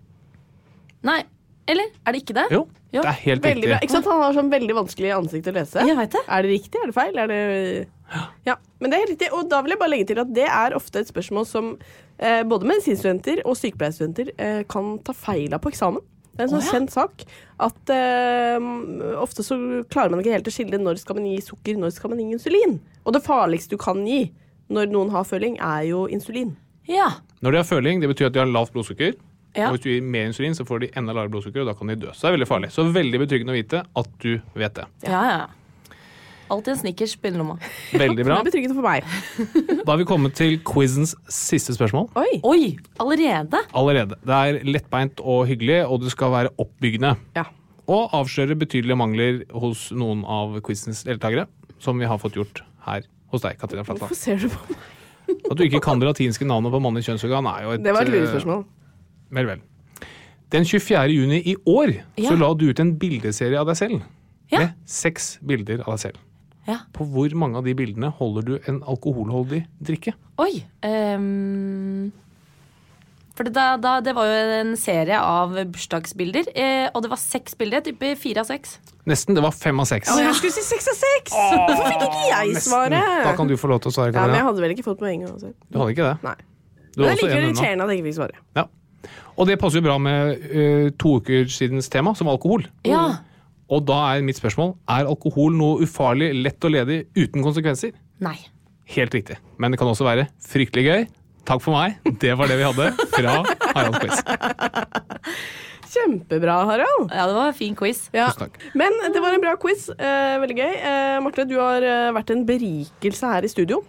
Nei. Eller er det ikke det?
Jo,
Jo.
det er helt
Veldig bra.
riktig.
Ikke sant? Han har sånn veldig vanskelig ansikt å lese.
Jeg vet det.
Er det riktig? Er det feil? Er det ja, men det er helt riktig. Og da vil jeg bare legge til at det er ofte et spørsmål som eh, både medisinstudenter og sykepleierstudenter eh, kan ta feil av på eksamen. Det er en sånn kjent sak at eh, ofte så klarer man ikke helt å skille når skal man gi sukker, når skal man gi insulin. Og det farligste du kan gi når noen har føling, er jo insulin.
Ja.
Når de har føling, det betyr at de har lavt blodsukker.
Ja.
Og hvis du gir mer insulin, så får de enda lavere blodsukker, og da kan de dø. Så det er veldig farlig. Så veldig betryggende å vite at du vet det.
ja, ja. Alltid en snickers på innerlomma.
Veldig
Det
bra.
er betryggende for meg.
Da har vi kommet til quizens siste spørsmål.
Oi!
Oi! Allerede?
Allerede. Det er lettbeint og hyggelig, og det skal være oppbyggende.
Ja.
Og avsløre betydelige mangler hos noen av quizens deltakere, som vi har fått gjort her hos deg, Katrine Flatland.
Hvorfor ser du på meg?
At du ikke kan det latinske navnet på mannlig kjønnsorgan, er jo et
Det var et
eh,
lurespørsmål.
Vel, vel. Den 24. juni i år
Ja.
så la du ut en bildeserie av deg selv.
Ja.
Med seks bilder av deg selv.
Ja.
På hvor mange av de bildene holder du en alkoholholdig drikke?
Oi. ehm, for det, da, da, det var jo en serie av bursdagsbilder, eh, og det var seks bilder. Type fire av seks.
Nesten. Det var fem av seks.
Å, jeg skulle si seks av seks! Hvorfor fikk ikke jeg svaret?
Da kan du få lov til å svare,
Ja, men jeg
Katarina.
hadde vel ikke fått poeng uansett.
Du hadde ikke det.
Nei.
Du
Men
har
det
også
er
en
likevel
unna.
irriterende at jeg ikke fikk svare.
Ja. Og det passer jo bra med eh, to uker sidens tema, som var alkohol.
Ja.
Og da er mitt spørsmål er alkohol noe ufarlig, lett og ledig, uten konsekvenser.
Nei.
Helt riktig. Men det kan også være fryktelig gøy. Takk for meg. Det var det vi hadde fra Harald Quiz.
Kjempebra, Harald.
Ja, det var en fin quiz.
Ja.
Tusen takk.
Men det var en bra quiz. Eh, veldig gøy. Eh, Marte, du har eh, vært en berikelse her i studio.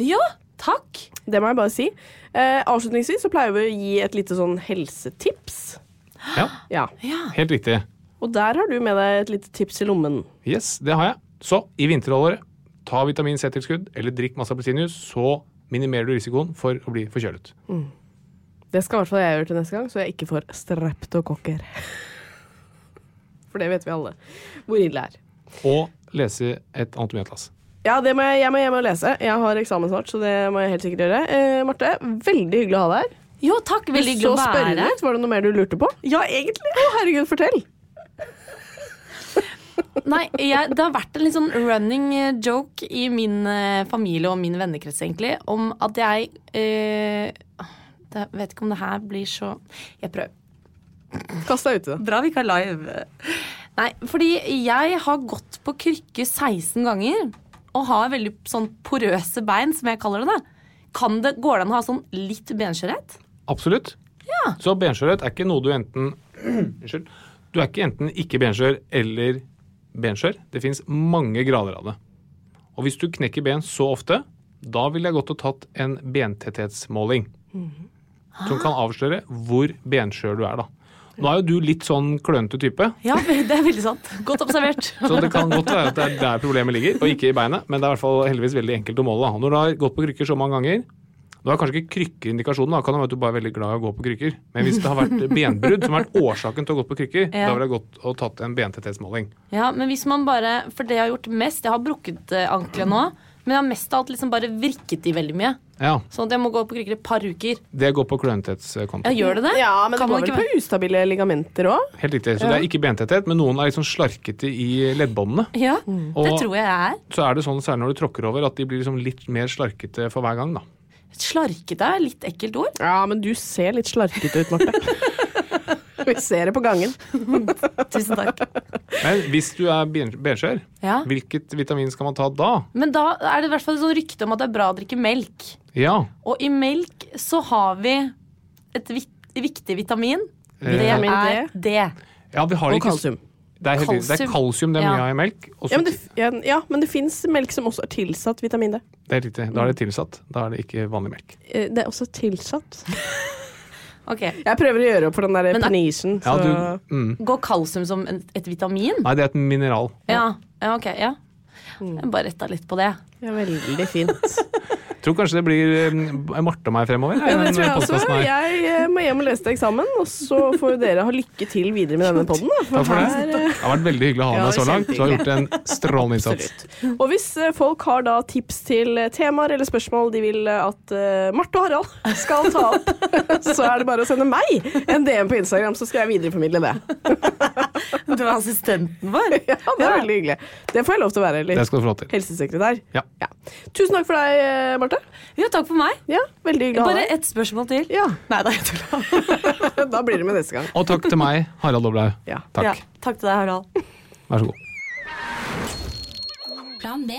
Ja, takk.
Det må jeg bare si. Eh, avslutningsvis så pleier vi å gi et lite sånn helsetips.
Ja,
Ja.
helt riktig.
Og der har du med deg et lite tips i lommen.
Yes, det har jeg. Så i vinterhalvåret, ta vitamin C-tilskudd eller drikk masse appelsinjuice, så minimerer du risikoen for å bli forkjølet.
Det skal i hvert fall jeg gjøre til neste gang, så jeg ikke får streptokokker. For det vet vi alle hvor ille det er.
Og lese et anatomiatlas.
Ja, det må jeg, jeg må hjem og lese. Jeg har eksamen snart, så det må jeg helt sikkert gjøre. Eh, Marte, veldig hyggelig å ha deg her.
Jo, takk. Veldig hyggelig å
Så
være
spørrende
her.
ut. Var det noe mer du lurte på? Ja, egentlig. Å, herregud, fortell.
Nei, jeg, det har vært en litt sånn running eh, joke i min eh, familie og min vennekrets egentlig, om at jeg eh, det, Vet ikke om det her blir så Jeg prøver.
Kast deg uti det.
Bra vi ikke er live. Nei, fordi jeg har gått på krykke 16 ganger og har veldig sånn porøse bein, som jeg kaller det. da. Kan det, går det an å ha sånn litt benskjørhet?
Absolutt. Så benskjørhet er ikke noe du enten Unnskyld. Du er ikke enten ikke benskjør eller benskjør. Det fins mange grader av det. Og hvis du knekker ben så ofte, da ville jeg gått og tatt en bentetthetsmåling. Som kan avsløre hvor benskjør du er, da. Nå er jo du litt sånn klønete type,
Ja, det er veldig sant. Godt observert.
så det kan godt være at det er der problemet ligger, og ikke i beinet. Men det er i hvert fall heldigvis veldig enkelt å måle. da. Når du har gått på krykker så mange ganger Nå er kanskje ikke krykkeindikasjonen, da kan det være at du bare er veldig glad i å gå på krykker. Men hvis det har vært benbrudd som har vært årsaken til å gå på krykker, da
Ja.
ville jeg gått og tatt en bentetthetsmåling.
Ja, men hvis man bare, For det jeg har gjort mest Jeg har brukket eh, ankelen nå, men jeg har mest av alt liksom bare vrikket i veldig mye.
Ja,
Sånn at jeg må gå på krykker et par uker.
det går på klønetetskonto.
Ja, gjør det det?
Ja, men
Kan
det
man
går
ikke
vel på ustabile ligamenter òg?
Helt riktig. Så det er ikke bentetthet, men noen er liksom slarkete i leddbåndene.
være- Ja, det
Mm. Og-
tror jeg jeg er.
Så er det sånn, særlig når du tråkker over, at de blir liksom litt mer slarkete for hver gang, da.
Slarkete er litt ekkelt ord.
Ja, men du ser litt slarkete ut, Marte. Vi ser det på gangen.
Tusen takk.
Men hvis du er ben- benskjør,
Ja.
hvilket vitamin skal man ta da?
Men da er det i hvert fall et sånt rykte om at det er bra å drikke melk.
Ja.
Og i melk så har vi et vik- viktig vitamin. Det
Eh,
er
Vitamin
D.
ja vi har
Og
ikke
kalsium.
Det er, helt, det er
Kalsium.
kalsium det er mye
Ja.
av i melk. og
Ja,
så-
men det, ja, den- ja, men det fins melk som også er tilsatt vitamin D.
det er riktig. Da er det tilsatt. Da er det ikke vanlig melk.
Eh, Det er også tilsatt.
Ok.
Jeg prøver å gjøre opp for den der
Men da-
penisen,
Ja,
så
du, mm.
Går kalsium som en, et vitamin?
Nei, det er et mineral.
Ja. ja, ok. Ja. Jeg bare retta litt på det.
Det er veldig fint.
Tror kanskje det blir eh, Marte og meg fremover.
Ja,
i
det
den
tror jeg også.
podcasten her.
Jeg eh, må hjem og lese til eksamen, og så får dere ha lykke til videre med denne podden. Da,
Takk for
her,
det.
eh,
Det har vært veldig hyggelig å ha
Ja,
deg så langt. Du har gjort en strålende innsats.
Absolutt. Og hvis eh, folk har da tips til eh, temaer eller spørsmål de vil eh, at eh, Marte og Harald skal ta opp, så er det bare å sende meg en DM på Instagram, så skal jeg videreformidle det.
Du er assistenten vår.
Ja, Det er veldig hyggelig. Det får jeg lov til å være,
Det
eller?
skal du få lov til.
Helsesekretær.
Ja.
Tusen takk for deg, eh, Marte.
Ja, takk for meg.
Ja, veldig hyggelig å ha
Bare
deg.
ett spørsmål til.
Ja,
Nei da, jeg tuller.
da blir det med neste gang.
Og takk til meg, Harald Doblaug.
Ja.
Ja,
Takk.
takk til deg, Harald.
Vær så god.
Plan B.